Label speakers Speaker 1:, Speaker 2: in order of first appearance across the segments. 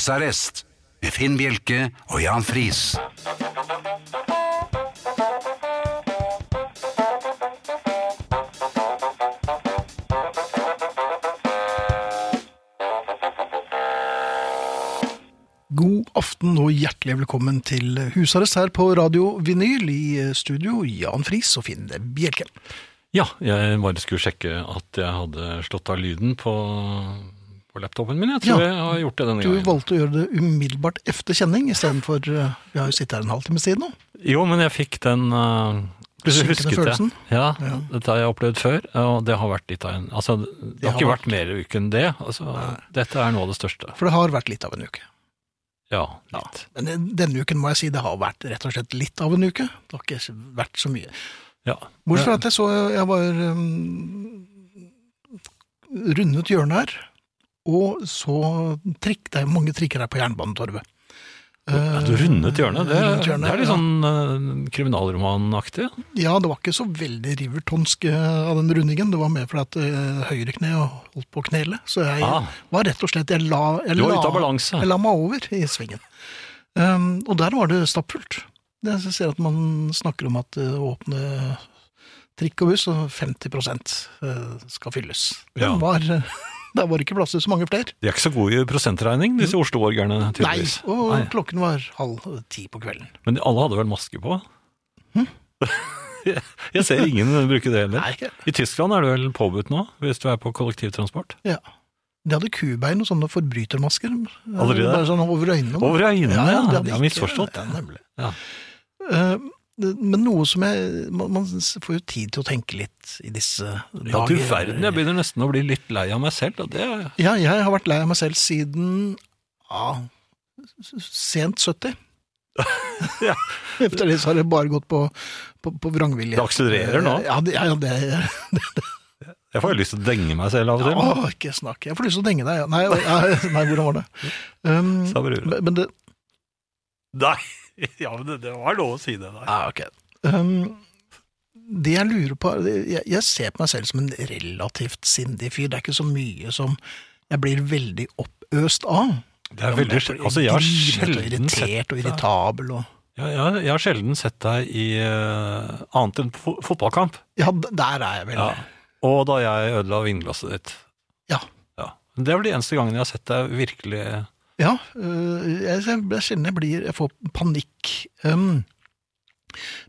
Speaker 1: Husarrest med Finn Bjelke og Jan Friis.
Speaker 2: God aften og hjertelig velkommen til husarrest her på Radio Vinyl. I eh, studio Jan Friis og Finn Bjelke.
Speaker 3: Ja, jeg bare skulle sjekke at jeg hadde slått av lyden på, på laptopen min. Jeg tror
Speaker 2: Ja.
Speaker 3: jeg har gjort det denne
Speaker 2: Du
Speaker 3: gangen.
Speaker 2: valgte å gjøre det umiddelbart efter kjenning istedenfor eh, Vi har jo sittet her en halvtime siden nå.
Speaker 3: Jo, men jeg fikk den uh,
Speaker 2: Synkende
Speaker 3: jeg.
Speaker 2: følelsen?
Speaker 3: Ja,
Speaker 2: Ja.
Speaker 3: dette har jeg opplevd før, og det har vært litt av en Altså, det, har
Speaker 2: har
Speaker 3: ikke vært mer uke enn det. Altså, dette er noe av det største.
Speaker 2: For det har vært litt av en uke.
Speaker 3: Ja, litt.
Speaker 2: Men eh, denne uken må jeg si det har vært rett og slett litt av en uke. Det har ikke vært så mye.
Speaker 3: Ja.
Speaker 2: Bortsett fra at jeg så jeg var eh, rundet hjørnet her, og så trikk, det er jo mange trikker her på Jernbanetorvet.
Speaker 3: ja, du rundet hjørnet. Det,
Speaker 2: Rundet hjørnet,
Speaker 3: det er litt
Speaker 2: ja.
Speaker 3: sånn eh, kriminalromanaktig.
Speaker 2: Ja, det var ikke så veldig rivertonsk eh, av den rundingen. Det var mer fordi at eh, høyre kne holdt på å knele. Så jeg
Speaker 3: Ah.
Speaker 2: var rett og slett Jeg la, jeg
Speaker 3: Du
Speaker 2: la,
Speaker 3: var ute av balanse.
Speaker 2: jeg la meg over i svingen. Um, og der var det stappfullt. Jeg ser at man snakker om at eh, å åpne trikk og buss, og 50 eh, skal fylles. Det
Speaker 3: Ja.
Speaker 2: var, eh, der var det ikke plass til så mange flere.
Speaker 3: De er ikke så gode i prosentregning, disse Oslo-orgerne,
Speaker 2: Nei,
Speaker 3: tydeligvis.
Speaker 2: og
Speaker 3: Mm. Nei.
Speaker 2: klokken var halv ti på kvelden.
Speaker 3: Men alle hadde vel maske på? jeg ser ingen bruke det heller.
Speaker 2: Nei, ikke.
Speaker 3: I Tyskland er det vel påbudt nå, hvis du er på kollektivtransport?
Speaker 2: Ja. De hadde kubein og sånne forbrytermasker. eh,
Speaker 3: Hadde de det?
Speaker 2: Bare sånn over øynene.
Speaker 3: Over øynene, ja!
Speaker 2: det
Speaker 3: ja
Speaker 2: hadde
Speaker 3: jeg har
Speaker 2: ikke-
Speaker 3: misforstått.
Speaker 2: Ja, nemlig.
Speaker 3: Ja.
Speaker 2: Eh, det- men noe som jeg man, man får jo tid til å tenke litt i disse dager.
Speaker 3: Ja, du verden, jeg begynner nesten å bli litt lei av meg selv, og det
Speaker 2: Ja, jeg har vært lei av meg selv siden ja, s- s- sent 70.
Speaker 3: Ja.
Speaker 2: Etter det så har det bare gått på, på, på vrangvilje.
Speaker 3: Det akselererer nå.
Speaker 2: Ja, det, ja, det
Speaker 3: Jeg får jo lyst til å denge meg selv av og til.
Speaker 2: Åh, ikke snakk. Jeg får lyst til å denge deg. ja. Nei, nei, nei hvordan var det? Um,
Speaker 3: Sa brura.
Speaker 2: men- men det
Speaker 3: Nei, ja, men det, det var lov å si det der.
Speaker 2: Ja, ok. Um, det jeg lurer på er- jeg, jeg ser på meg selv som en relativt sindig fyr. Det er ikke så mye som jeg blir veldig oppøst av.
Speaker 3: Det er veldig,
Speaker 2: Jeg
Speaker 3: sjel-
Speaker 2: blir
Speaker 3: altså, jeg har
Speaker 2: grinet og
Speaker 3: sjelden sett
Speaker 2: Irritert og irritabel og
Speaker 3: Ja, jeg, jeg har sjelden sett deg i eh, annet enn fo fotballkamp.
Speaker 2: Ja, d- der er jeg vel.
Speaker 3: Ja. Og da jeg ødela vinglasset ditt.
Speaker 2: Ja.
Speaker 3: Ja. Det er vel de eneste gangene jeg har sett deg virkelig
Speaker 2: Ja, øh, jeg, jeg, jeg kjenner jeg blir Jeg får panikk. Um,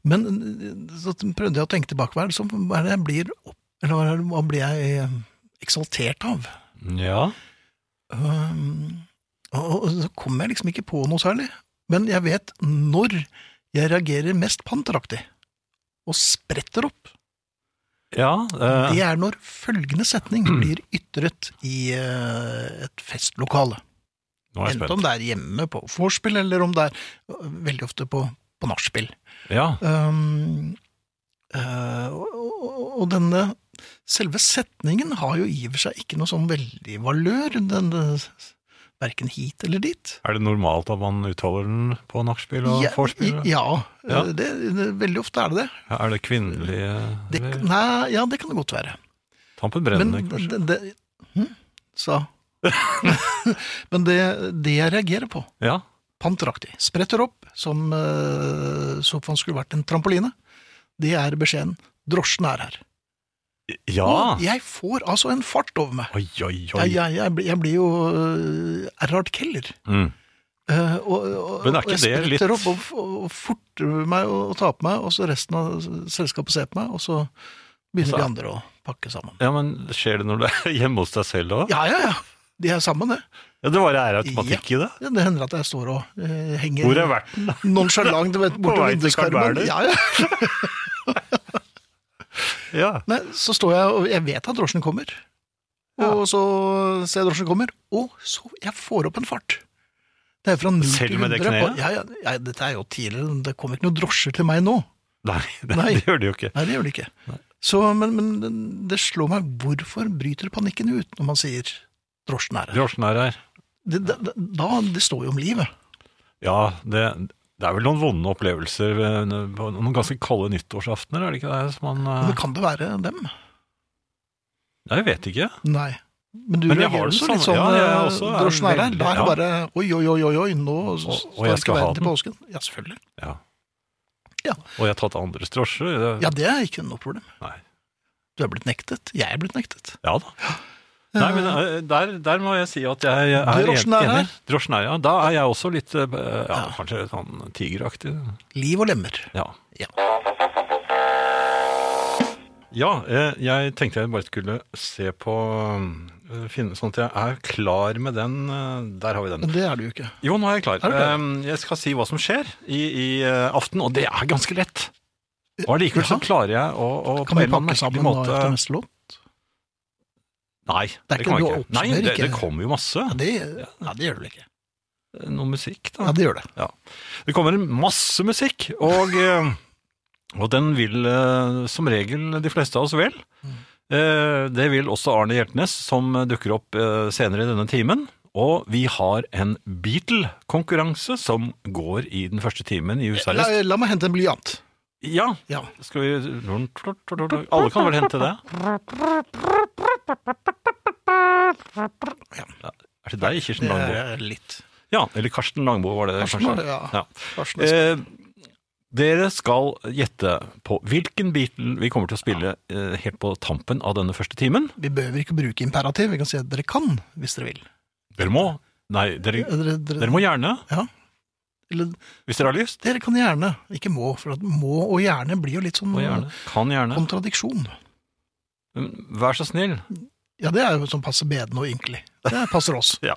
Speaker 2: men øh, så prøvde jeg å tenke tilbake. Hva er det, som, hva er det jeg blir opp, eller hva er det- hva blir jeg eh, eksaltert av?
Speaker 3: Ja.
Speaker 2: Um, og, og så kommer jeg liksom ikke på noe særlig. Men jeg vet når jeg reagerer mest panteraktig. Og spretter opp.
Speaker 3: Ja, eh,
Speaker 2: Det er når følgende setning blir ytret i eh, et festlokale.
Speaker 3: nå er jeg
Speaker 2: Enten om
Speaker 3: spent.
Speaker 2: det er hjemme på vorspiel, eller om det er øh, veldig ofte på, på nachspiel.
Speaker 3: Ja,
Speaker 2: Um, eh, og, og- og denne selve setningen har jo i og for seg ikke noe sånn veldig valør, denne, verken hit eller dit.
Speaker 3: er det normalt at man uttaler den på nachspiel og
Speaker 2: Ja,
Speaker 3: vorspiel?
Speaker 2: i- Ja,
Speaker 3: Ja.
Speaker 2: eh, Det, det, veldig ofte er det det.
Speaker 3: Ja, er det eh, kvinnelige
Speaker 2: det
Speaker 3: eller-
Speaker 2: nei, ja, det kan det godt være.
Speaker 3: Tampen brennende,
Speaker 2: Men
Speaker 3: kanskje?
Speaker 2: det, det, hm, sa Men det, det jeg reagerer på,
Speaker 3: Ja.
Speaker 2: panteraktig, spretter opp som eh, sofaen skulle vært en trampoline, det er beskjeden 'drosjen er her'.
Speaker 3: Ja!
Speaker 2: Og jeg får altså en fart over meg.
Speaker 3: Oi, oi,
Speaker 2: Jeg,
Speaker 3: oi.
Speaker 2: jeg, jeg, blir- jeg blir jo øh, Erhard Keller.
Speaker 3: Mm.
Speaker 2: Eh, og, og,
Speaker 3: Men er
Speaker 2: og jeg
Speaker 3: ikke det litt-
Speaker 2: spretter opp og, og, og forter meg og, og tar på meg, og så resten av selskapet ser på meg, og så begynner
Speaker 3: Og
Speaker 2: de
Speaker 3: så-
Speaker 2: andre å pakke sammen.
Speaker 3: Ja, men skjer det når du er hjemme hos deg selv òg?
Speaker 2: Ja, ja, ja. De er sammen, det.
Speaker 3: Ja, det bare er automatikk i det?
Speaker 2: Ja, det hender at jeg står og eh, henger
Speaker 3: Hvor er verten?
Speaker 2: nonchalant vet,
Speaker 3: På
Speaker 2: bortover
Speaker 3: vei til Carl
Speaker 2: vinduskarmen.
Speaker 3: Berner.
Speaker 2: Ja, ja.
Speaker 3: Ja.
Speaker 2: Nei, så står jeg og jeg vet at drosjen kommer. Og så ser jeg drosjen kommer, og så jeg får opp en fart. Det er fra 0
Speaker 3: Selv
Speaker 2: til
Speaker 3: med det
Speaker 2: 100 på-
Speaker 3: kneet?
Speaker 2: Ja, ja, ja, dette er jo tidligere, det kommer ikke noen drosjer til meg nå.
Speaker 3: Nei, det,
Speaker 2: Nei.
Speaker 3: det gjør det jo ikke.
Speaker 2: Nei, det gjør det ikke. Så, men, men det slår meg, hvorfor bryter panikken ut når man sier drosjen er her?
Speaker 3: Drosjen er her.
Speaker 2: Det, det, det- da, det står jo om livet.
Speaker 3: Ja, det, det er vel noen vonde opplevelser ved- på noen ganske kalde nyttårsaftener, er det ikke det? Som man,
Speaker 2: Men
Speaker 3: eh,
Speaker 2: kan det være dem?
Speaker 3: Nei, jeg vet ikke.
Speaker 2: Nei. Men du
Speaker 3: Men jeg har
Speaker 2: reagerer
Speaker 3: den
Speaker 2: også
Speaker 3: samme-
Speaker 2: litt sånn
Speaker 3: ja, jeg
Speaker 2: eh,
Speaker 3: også er
Speaker 2: Drosjen er her.
Speaker 3: veldig-
Speaker 2: Da er det
Speaker 3: ja.
Speaker 2: bare oi, oi, oi, oi, oi nå
Speaker 3: og jeg
Speaker 2: står
Speaker 3: skal
Speaker 2: ikke
Speaker 3: ha
Speaker 2: verden til
Speaker 3: den.
Speaker 2: påsken. Ja, selvfølgelig.
Speaker 3: Ja.
Speaker 2: Ja.
Speaker 3: Og jeg har tatt andres drosje.
Speaker 2: Ja, det er ikke noe problem.
Speaker 3: Nei.
Speaker 2: Du er blitt nektet. Jeg er blitt nektet.
Speaker 3: Ja da. Nei, men eh, der, der må jeg si at jeg er
Speaker 2: Drosjen er her.
Speaker 3: enig. Drosjen er her. Da er jeg også litt eh, ja,
Speaker 2: Ja.
Speaker 3: kanskje sånn tigeraktig.
Speaker 2: Eh, Liv og lemmer.
Speaker 3: Ja.
Speaker 2: Ja.
Speaker 3: Ja, eh, jeg tenkte jeg bare skulle se på eh, Finne sånn at jeg er klar med den. eh, Der har vi den.
Speaker 2: Men det er du jo ikke.
Speaker 3: Jo, nå er jeg klar.
Speaker 2: Er du klar?
Speaker 3: Ehm, jeg skal si hva som skjer i, i eh, aften, og det er ganske lett. Og allikevel så
Speaker 2: Jaha.
Speaker 3: klarer jeg å, å
Speaker 2: Kan
Speaker 3: på
Speaker 2: vi
Speaker 3: en eller annen
Speaker 2: pakke
Speaker 3: merkelig
Speaker 2: sammen nå
Speaker 3: måte
Speaker 2: etter neste låt?
Speaker 3: Nei, det,
Speaker 2: ikke
Speaker 3: kan
Speaker 2: noe
Speaker 3: jeg ikke. Nei,
Speaker 2: oppsummer,
Speaker 3: det, det
Speaker 2: ikke?
Speaker 3: kommer jo masse. Eh,
Speaker 2: Ja, det, ja, det gjør du vel ikke.
Speaker 3: Noe musikk, da.
Speaker 2: Ja, det gjør det.
Speaker 3: Det kommer masse musikk, og, eh, og den vil eh, som regel de fleste av oss vel.
Speaker 2: Mm.
Speaker 3: Eh, Det vil også Arne Hjeltnes, som dukker opp eh, senere i denne timen. Og vi har en Beatle-konkurranse som går i den første timen i
Speaker 2: La,
Speaker 3: husarrest.
Speaker 2: la meg hente en blyant.
Speaker 3: Ja,
Speaker 2: Ja.
Speaker 3: skal vi Alle kan vel hente det? Ja, Er det deg, Kirsten
Speaker 2: Det
Speaker 3: Langbo?
Speaker 2: er litt.
Speaker 3: Ja, eller Karsten Langbo var det
Speaker 2: Karsten var det, ja.
Speaker 3: Ja.
Speaker 2: Karsten er-
Speaker 3: Eh, dere skal gjette på hvilken Beatle vi kommer til å spille eh, helt på tampen av denne første timen.
Speaker 2: Vi behøver ikke bruke imperativ. Vi kan si at dere kan, hvis dere vil. Eh,
Speaker 3: Dere må. Nei, dere,
Speaker 2: Dere,
Speaker 3: dere må gjerne,
Speaker 2: eller,
Speaker 3: hvis dere har lyst.
Speaker 2: dere kan gjerne. Ikke må, for at må og gjerne blir jo litt sånn
Speaker 3: Må gjerne. Kan gjerne.
Speaker 2: kontradiksjon.
Speaker 3: Vær så snill.
Speaker 2: Ja, det er jo sånn passe bedende og ynkelig. Det passer oss.
Speaker 3: Ja.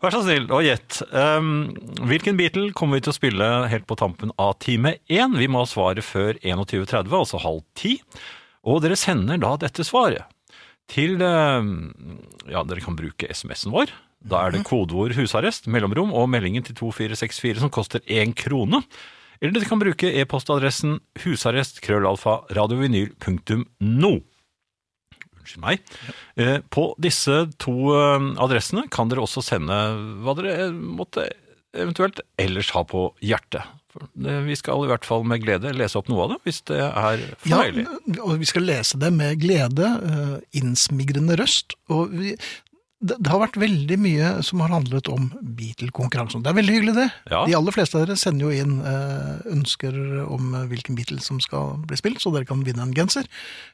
Speaker 3: Vær så snill og gjett. Ehm, hvilken Beatle kommer vi til å spille helt på tampen av time én? Vi må ha svaret før 21.30, altså halv ti. Og dere sender da dette svaret til ehm, Ja, dere kan bruke SMS-en vår. Da er det kodeord 'husarrest', mellomrom og meldingen til 2464 som koster én krone. Eller dere kan bruke e-postadressen husarrest krøllalfa radiovinyl.no. Unnskyld meg. Eh, På disse to eh, adressene kan dere også sende hva dere eh, måtte eventuelt ellers ha på hjertet. For det- Vi skal i hvert fall med glede lese opp noe av det, hvis det er
Speaker 2: Ja,
Speaker 3: fornøyelig.
Speaker 2: og vi skal lese det med glede, eh, innsmigrende røst. Og vi, det, det har vært veldig mye som har handlet om Beatle-konkurransen. Det er veldig hyggelig, det.
Speaker 3: Ja.
Speaker 2: De aller fleste av dere sender jo inn eh, ønsker om eh, hvilken Beatle som skal bli spilt, så dere kan vinne en genser.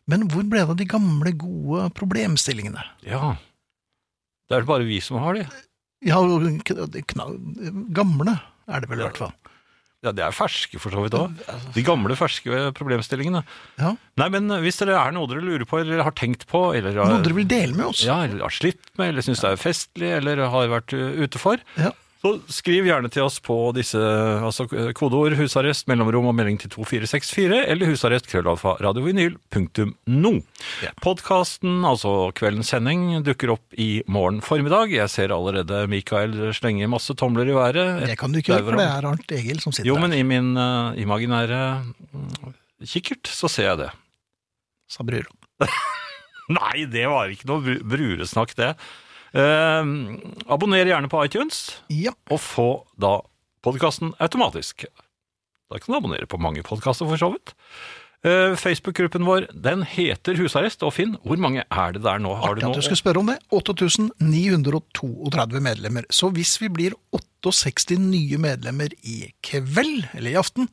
Speaker 2: Men hvor ble det av de gamle, gode problemstillingene?
Speaker 3: Ja. Det er det bare vi som har det.
Speaker 2: Ja, og kn- kna- gamle er det vel i
Speaker 3: Ja.
Speaker 2: hvert fall.
Speaker 3: Ja, Det er ferske, for så vidt òg. De gamle, ferske problemstillingene.
Speaker 2: Ja.
Speaker 3: Nei, men hvis det er noe dere lurer på, eller har tenkt på, eller har,
Speaker 2: Noe dere vil dele med oss?
Speaker 3: ja, eller har slitt med, eller syns det er festlig, eller har vært uh, ute for,
Speaker 2: Ja.
Speaker 3: Så skriv gjerne til oss på disse altså kodeord husarrest, mellomrom og melding til 2464, eller husarrest krøllalfa radiovinyl.no.
Speaker 2: Ja.
Speaker 3: Podkasten, altså kveldens sending, dukker opp i morgen formiddag. Jeg ser allerede Mikael slenge masse tomler i været.
Speaker 2: Det kan du ikke gjøre, for det
Speaker 3: Dauer
Speaker 2: er Arnt Egil som sitter
Speaker 3: Jo, men i min eh, imaginære mm, kikkert så ser jeg det.
Speaker 2: der, sa Bruro.
Speaker 3: Nei, det var ikke noe bru- bruresnakk, det. Eh, abonner gjerne på iTunes.
Speaker 2: Ja.
Speaker 3: og få da podkasten automatisk. Da kan du abonnere på mange podkaster, for så vidt. Eh, Facebook-gruppen vår den heter Husarrest. Og Finn, hvor mange er det der nå? Har
Speaker 2: Artig
Speaker 3: du
Speaker 2: at
Speaker 3: noe?
Speaker 2: du skulle spørre om det. 8932 medlemmer. Så hvis vi blir 68 nye medlemmer i kveld, eller i aften,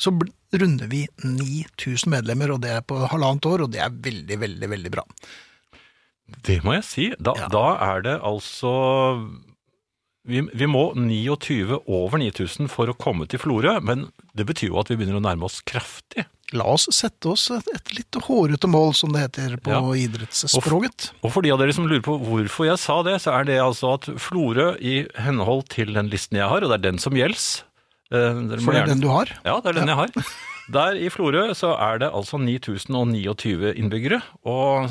Speaker 2: så bl- runder vi 9000 medlemmer, og det er på halvannet år, og det er veldig, veldig, veldig bra.
Speaker 3: Det må jeg si. Da,
Speaker 2: Ja.
Speaker 3: da er det altså vi, vi må 29 over 9000 for å komme til Florø, men det betyr jo at vi begynner å nærme oss kraftig.
Speaker 2: La oss sette oss et, et litt hårete mål, som det heter på
Speaker 3: Ja.
Speaker 2: idrettsspråket.
Speaker 3: Og for de av dere som lurer på hvorfor jeg sa det, så er det altså at Florø, i henhold til den listen jeg har, og det er den som gjelder eh, dere må
Speaker 2: For det
Speaker 3: gjerne-
Speaker 2: er den du har.
Speaker 3: Ja, det er den jeg har. Der i Florø så er det altså 9029 innbyggere, og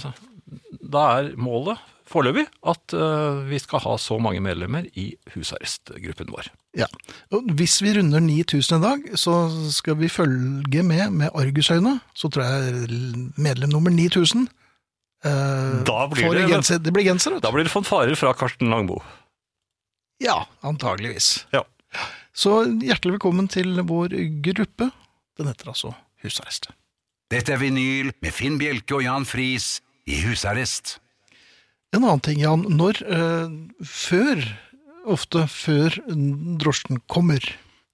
Speaker 3: da er målet foreløpig at eh, vi skal ha så mange medlemmer i husarrestgruppen vår.
Speaker 2: Ja. Og hvis vi runder 9000 i dag, så skal vi følge med med argusøyne. Så tror jeg medlem nummer 9000 eh,
Speaker 3: Da blir
Speaker 2: får
Speaker 3: det-
Speaker 2: en genser. Det blir genser, vet du.
Speaker 3: Da blir det fanfarer fra Karsten Langbo.
Speaker 2: Ja, antageligvis.
Speaker 3: Ja.
Speaker 2: Så hjertelig velkommen til vår gruppe. Den heter altså Husarrest.
Speaker 1: Dette er vinyl med Finn Bjelke og Jan Friis i husarrest.
Speaker 2: En annen ting, Jan. Når eh, Før, ofte før drosjen kommer.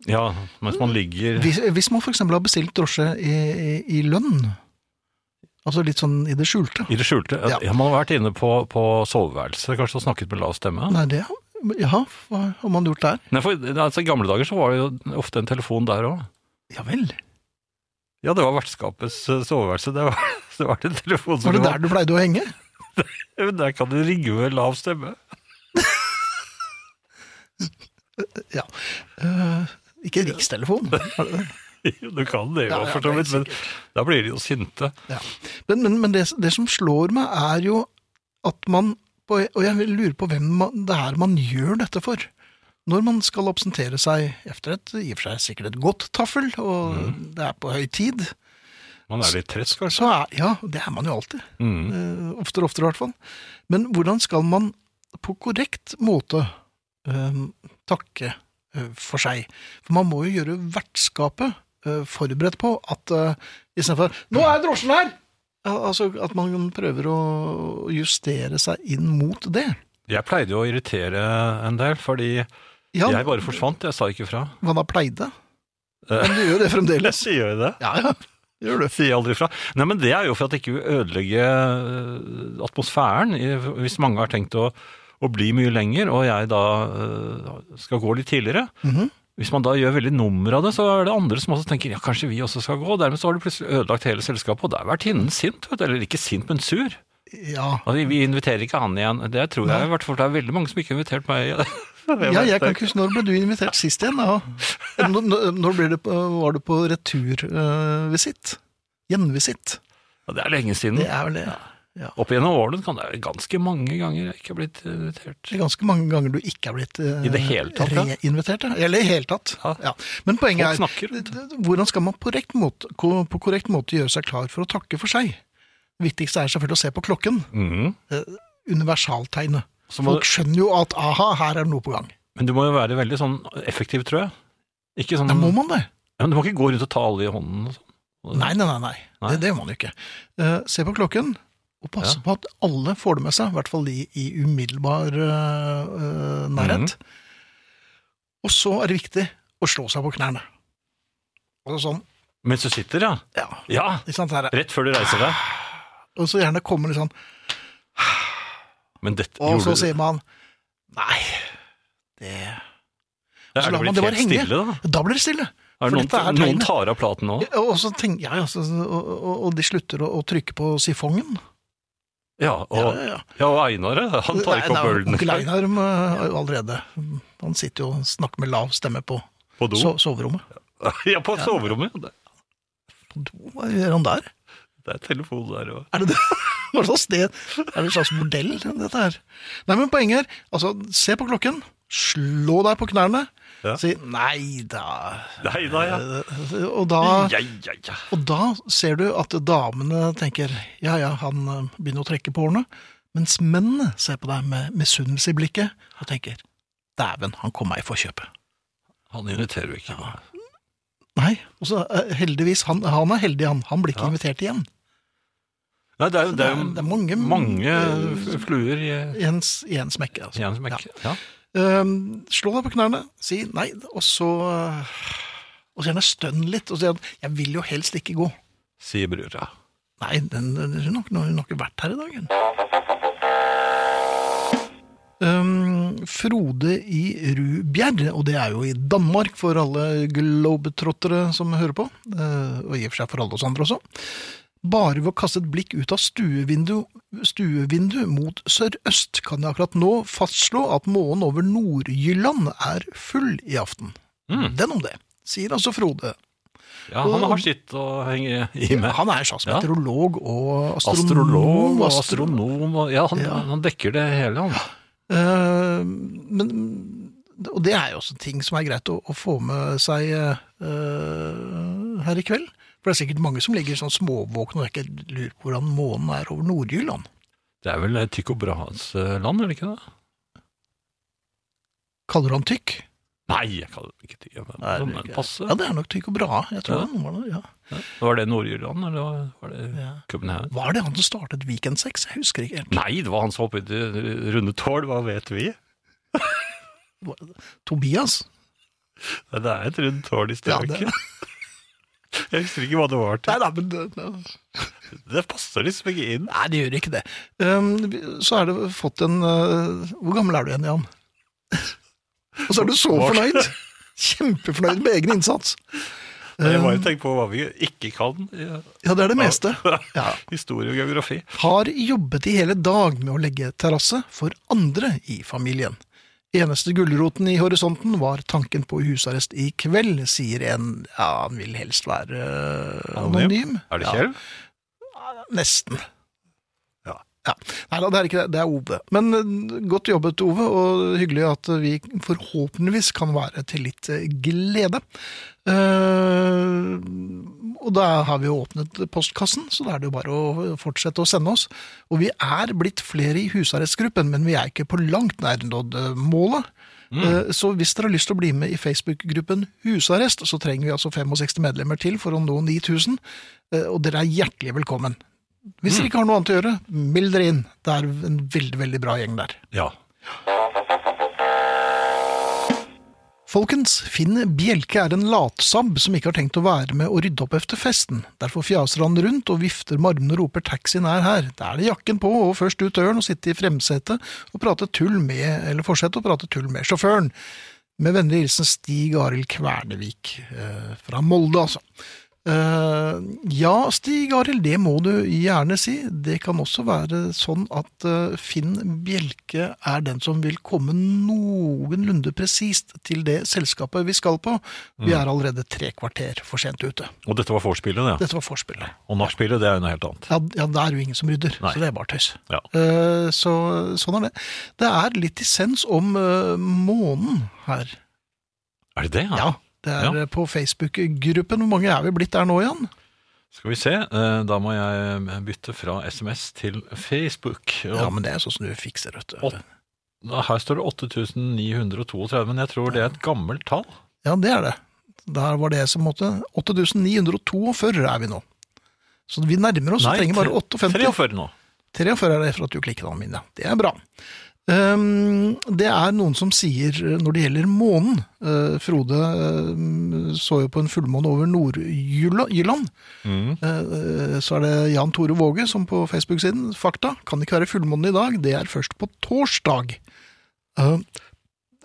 Speaker 3: Ja, mens man ligger
Speaker 2: Hvis, hvis man f.eks. har bestilt drosje i, i, i lønn, altså litt sånn i det skjulte
Speaker 3: i det skjulte.
Speaker 2: Ja.
Speaker 3: Ja. Man har vært inne på, på soveværelset kanskje og snakket med lav stemme.
Speaker 2: Nei, det Ja, hva har man gjort der?
Speaker 3: Nei, for altså, I gamle dager så var det jo ofte en telefon der òg.
Speaker 2: Ja vel.
Speaker 3: Ja, det var vertskapets eh, soveværelse. Det var, det var en telefon som
Speaker 2: Var det der du pleide å henge?
Speaker 3: der? der kan du ringe med lav stemme.
Speaker 2: Ja. Eh, ikke rikstelefon. var det det?
Speaker 3: Jo, du kan det jo,
Speaker 2: Ja, ja,
Speaker 3: for så
Speaker 2: det er
Speaker 3: vidt, men da blir de jo sinte.
Speaker 2: Men, men, men det, det som slår meg, er jo at man på- Og jeg lurer på hvem man, det er man gjør dette for. Når man skal absentere seg efter et i og for seg sikkert et godt taffel, og det er på høy tid,
Speaker 3: Man er litt trett, kanskje.
Speaker 2: så er Ja, det er man jo alltid.
Speaker 3: Mm.
Speaker 2: Eh, oftere og oftere, i hvert fall. Men hvordan skal man på korrekt måte eh, takke eh, for seg? For man må jo gjøre vertskapet eh, forberedt på at uh, istedenfor 'Nå er drosjen her!' Al- Altså at man prøver å justere seg inn mot det.
Speaker 3: Jeg pleide jo å irritere en del, fordi
Speaker 2: Ja,
Speaker 3: jeg bare forsvant. Jeg sa ikke fra.
Speaker 2: man har pleid det.
Speaker 3: Eh.
Speaker 2: Men du gjør det fremdeles.
Speaker 3: Sier jeg det?
Speaker 2: Ja, ja. Gjør det.
Speaker 3: Sier aldri fra. Nei, men det er jo for at det ikke vil ødelegge eh, atmosfæren. i- Hvis mange har tenkt å, å bli mye lenger, og jeg da eh, skal gå litt tidligere.
Speaker 2: Mhm.
Speaker 3: Hvis man da gjør veldig nummer av det, så er det andre som også tenker ja, kanskje vi også skal gå. Dermed så har du plutselig ødelagt hele selskapet, og der er vertinnen sint. Vet du. Eller ikke sint, men sur.
Speaker 2: Ja.
Speaker 3: Og Altså, vi, vi inviterer ikke han igjen. Det tror jeg i hvert fall. Det er veldig mange som ikke har invitert meg.
Speaker 2: Ja, jeg kan ikke huske når ble du invitert sist igjen. Da? Når, når- når ble det, på- var du på returvisitt? Gjenvisitt.
Speaker 3: Ja, det er lenge siden.
Speaker 2: Det er vel det.
Speaker 3: Opp gjennom årene kan det være ganske mange ganger jeg ikke har blitt invitert.
Speaker 2: Det er ganske mange ganger du ikke er blitt eh,
Speaker 3: I det hele tatt, ja.
Speaker 2: reinvitert. Ja. Eller i det hele tatt.
Speaker 3: Ja.
Speaker 2: Ja. Men poenget
Speaker 3: Folk
Speaker 2: er,
Speaker 3: snakker, vet
Speaker 2: hvordan skal man på korrekt, måte, ko- på korrekt måte gjøre seg klar for å takke for seg? Det viktigste er selvfølgelig å se på klokken.
Speaker 3: Mhm.
Speaker 2: Universaltegnet.
Speaker 3: Så må
Speaker 2: Folk skjønner jo at aha, her er det noe på gang.
Speaker 3: Men du må jo være veldig sånn effektiv, tror jeg. Ikke sånn,
Speaker 2: Da må man det.
Speaker 3: Ja, men du må ikke gå rundt og ta alle i hånden og sånn.
Speaker 2: Nei, nei, nei. nei.
Speaker 3: Nei.
Speaker 2: Det, det må man jo ikke. Eh, se på klokken, og passe
Speaker 3: Ja.
Speaker 2: på at alle får det med seg, i hvert fall de i umiddelbar eh, eh, nærhet.
Speaker 3: Mhm.
Speaker 2: Og så er det viktig å slå seg på knærne. Og sånn,
Speaker 3: Mens du sitter, ja.
Speaker 2: ja,
Speaker 3: Ja,
Speaker 2: ikke sant her.
Speaker 3: rett før du reiser deg.
Speaker 2: Og så gjerne kommer det sånn,
Speaker 3: Men dette
Speaker 2: og så
Speaker 3: du
Speaker 2: sier man, nei, det...
Speaker 3: Ja,
Speaker 2: så
Speaker 3: er
Speaker 2: lar
Speaker 3: det
Speaker 2: man
Speaker 3: blitt
Speaker 2: det bare
Speaker 3: helt
Speaker 2: henge.
Speaker 3: stille, da?
Speaker 2: Da blir det stille.
Speaker 3: Er
Speaker 2: for
Speaker 3: det noen,
Speaker 2: dette er
Speaker 3: noen
Speaker 2: tegnet.
Speaker 3: tar av platen nå?
Speaker 2: Ja, Og så tenker jeg, altså, og, og, og de slutter å, å trykke på sifongen.
Speaker 3: Ja, og,
Speaker 2: ja, ja.
Speaker 3: ja, og Einar, ja, han tar ikke
Speaker 2: Nei,
Speaker 3: opp
Speaker 2: nei,
Speaker 3: ølen
Speaker 2: Onkel Einar må- har jo allerede Han sitter jo og snakker med lav stemme på
Speaker 3: på do.
Speaker 2: so soverommet.
Speaker 3: Ja, på soverommet. Det,
Speaker 2: På do, hva gjør han der?
Speaker 3: det er telefon der og
Speaker 2: Er det det? Hva slags sted? Er det et slags bordell, dette her? Nei, men poenget er, altså, se på klokken, slå deg på knærne,
Speaker 3: Ja.
Speaker 2: si nei da
Speaker 3: Nei, nei, ja.
Speaker 2: Og da
Speaker 3: Ja, ja, ja.
Speaker 2: Og da ser du at damene tenker ja ja, han eh, begynner å trekke på årene, mens mennene ser på deg med misunnelse i blikket og tenker dæven, han kom meg i forkjøpet.
Speaker 3: Han inviterer jo ikke. da.
Speaker 2: Nei, og så eh, heldigvis, han, han er heldig han, han blir ikke
Speaker 3: Ja.
Speaker 2: invitert igjen.
Speaker 3: Nei, det er jo, det er jo
Speaker 2: Det er- det er mange-
Speaker 3: mange f- fluer i
Speaker 2: I en, s- i en smekke, altså.
Speaker 3: i en smekk. Ja.
Speaker 2: Ehm, slå deg på knærne, si nei, og så eh, Og så gjerne stønn litt, og si at 'jeg vil jo helst ikke gå'.
Speaker 3: Sier brura.
Speaker 2: Nei, den, den, hun, har, ikke- hun har ikke vært her i dag, hun. Um, Frode i Rubjerg, og det er jo i Danmark for alle globetrottere som hører på, eh, og i og for seg for alle oss andre også. Bare ved å kaste et blikk ut av stuevindu, stuevindu mot sørøst kan jeg akkurat nå fastslå at månen over Nord-Jylland er full i aften.
Speaker 3: Mm.
Speaker 2: Den om det, sier altså Frode.
Speaker 3: Ja, han har sitt å henge i med.
Speaker 2: Han er sjans
Speaker 3: Ja.
Speaker 2: meteorolog og astronom.
Speaker 3: Astrolog og
Speaker 2: astro-
Speaker 3: astronom og Ja, han,
Speaker 2: Ja.
Speaker 3: han dekker det hele, han.
Speaker 2: Eh, men, og det er jo også ting som er greit å, å få med seg eh, her i kveld. For det er sikkert mange som ligger sånn småvåkne og ikke lurer på hvordan månen er over Nord-Jylland.
Speaker 3: Det er vel eh, Tycho Brahas eh, land, er det ikke det?
Speaker 2: Kaller du han tykk?
Speaker 3: Nei, jeg kaller det ikke Tyge. Men,
Speaker 2: Nei,
Speaker 3: sånn,
Speaker 2: det er ikke-
Speaker 3: passe.
Speaker 2: Ja, det er nok Tycho Brahe. Jeg tror
Speaker 3: Ja.
Speaker 2: han var det. Ja.
Speaker 3: Var det Nord-Irland, eller var det
Speaker 2: Ja.
Speaker 3: København?
Speaker 2: Var det han som startet Weekend 6? Jeg husker ikke helt.
Speaker 3: Nei, det var han som hoppet i runde tårn, hva vet vi?
Speaker 2: Tobias?
Speaker 3: Nei, Det er et rundt tårn i
Speaker 2: Ja,
Speaker 3: strøket.
Speaker 2: det-
Speaker 3: Jeg husker ikke hva det var til.
Speaker 2: Nei, nei, men eh, det- det-
Speaker 3: Det passer liksom ikke inn.
Speaker 2: Nei, det gjør ikke det. Um, vi- så er det fått en uh, Hvor gammel er du igjen, Jan? Og så er du så
Speaker 3: Hva-
Speaker 2: fornøyd! Kjempefornøyd med egen innsats.
Speaker 3: Jeg bare
Speaker 2: Um,
Speaker 3: tenker på hva vi ikke kan i
Speaker 2: ja, det er det meste. Ja.
Speaker 3: historie og geografi.
Speaker 2: Har jobbet i hele dag med å legge terrasse for andre i familien. Eneste gulroten i horisonten var tanken på husarrest i kveld, sier en Ja, han vil helst være øh, anonym.
Speaker 3: Er det
Speaker 2: Ja.
Speaker 3: Kjell?
Speaker 2: Nesten.
Speaker 3: Ja.
Speaker 2: Nei da, det er ikke det. Det er Ove. Men eh, godt jobbet, Ove, og hyggelig at vi forhåpentligvis kan være til litt eh, glede. Eh, og da har vi jo åpnet postkassen, så da er det jo bare å fortsette å sende oss. Og vi er blitt flere i husarrestgruppen, men vi er ikke på langt nær nådd eh, målet. Eh, Så hvis dere har lyst til å bli med i Facebook-gruppen Husarrest, så trenger vi altså 65 medlemmer til for å nå 9000. eh, Og dere er hjertelig velkommen. Hvis dere ikke har noe annet å gjøre, meld dere inn. Det er en veldig, veldig bra gjeng der.
Speaker 3: Ja.
Speaker 2: Folkens, Finn Bjelke er en latsabb som ikke har tenkt å være med å rydde opp efter festen. Derfor fjaser han rundt og vifter med armene og roper 'taxien er her'. Da er det jakken på og først ut døren og sitte i fremsetet og prate tull med, eller fortsette å prate tull med sjåføren. Med vennlig hilsen Stig Arild Kvernevik eh, fra Molde, altså. Eh, ja, Stig Arild, det må du gjerne si. Det kan også være sånn at eh, Finn Bjelke er den som vil komme noenlunde presist til det selskapet vi skal på. Vi
Speaker 3: Mm.
Speaker 2: er allerede tre kvarter for sent ute.
Speaker 3: Og dette var vorspielet, det.
Speaker 2: Dette var forspillet.
Speaker 3: Og nachspielet, det er jo noe helt annet.
Speaker 2: Ja, ja det er jo ingen som rydder,
Speaker 3: Nei.
Speaker 2: så det er bare tøys.
Speaker 3: Ja.
Speaker 2: Eh, så sånn er det. Det er litt dissens om eh, månen her.
Speaker 3: Er det det?
Speaker 2: Ja. Det er
Speaker 3: Ja.
Speaker 2: eh, på Facebook-gruppen. Hvor mange er vi blitt der nå, Jan?
Speaker 3: Skal vi se. eh, Da må jeg bytte fra SMS til Facebook. Og
Speaker 2: Ja, men det er sånn som du fikser, vet du.
Speaker 3: Åtte. da- Her står det 8932, men jeg tror det er et gammelt tall.
Speaker 2: Ja, det er det. Der var det som måtte 8942 er vi nå. Så vi nærmer oss, vi trenger bare 58.
Speaker 3: 43 nå.
Speaker 2: 43 er det for at du klikket an, Minja. Det er bra. Ehm, det er noen som sier, eh, når det gjelder månen eh, Frode eh, så jo på en fullmåne over Nord-Jylland.
Speaker 3: Mm.
Speaker 2: Eh, Så er det Jan Tore Våge som på Facebook-siden Fakta, kan ikke være fullmåne i dag, det er først på torsdag. Eh,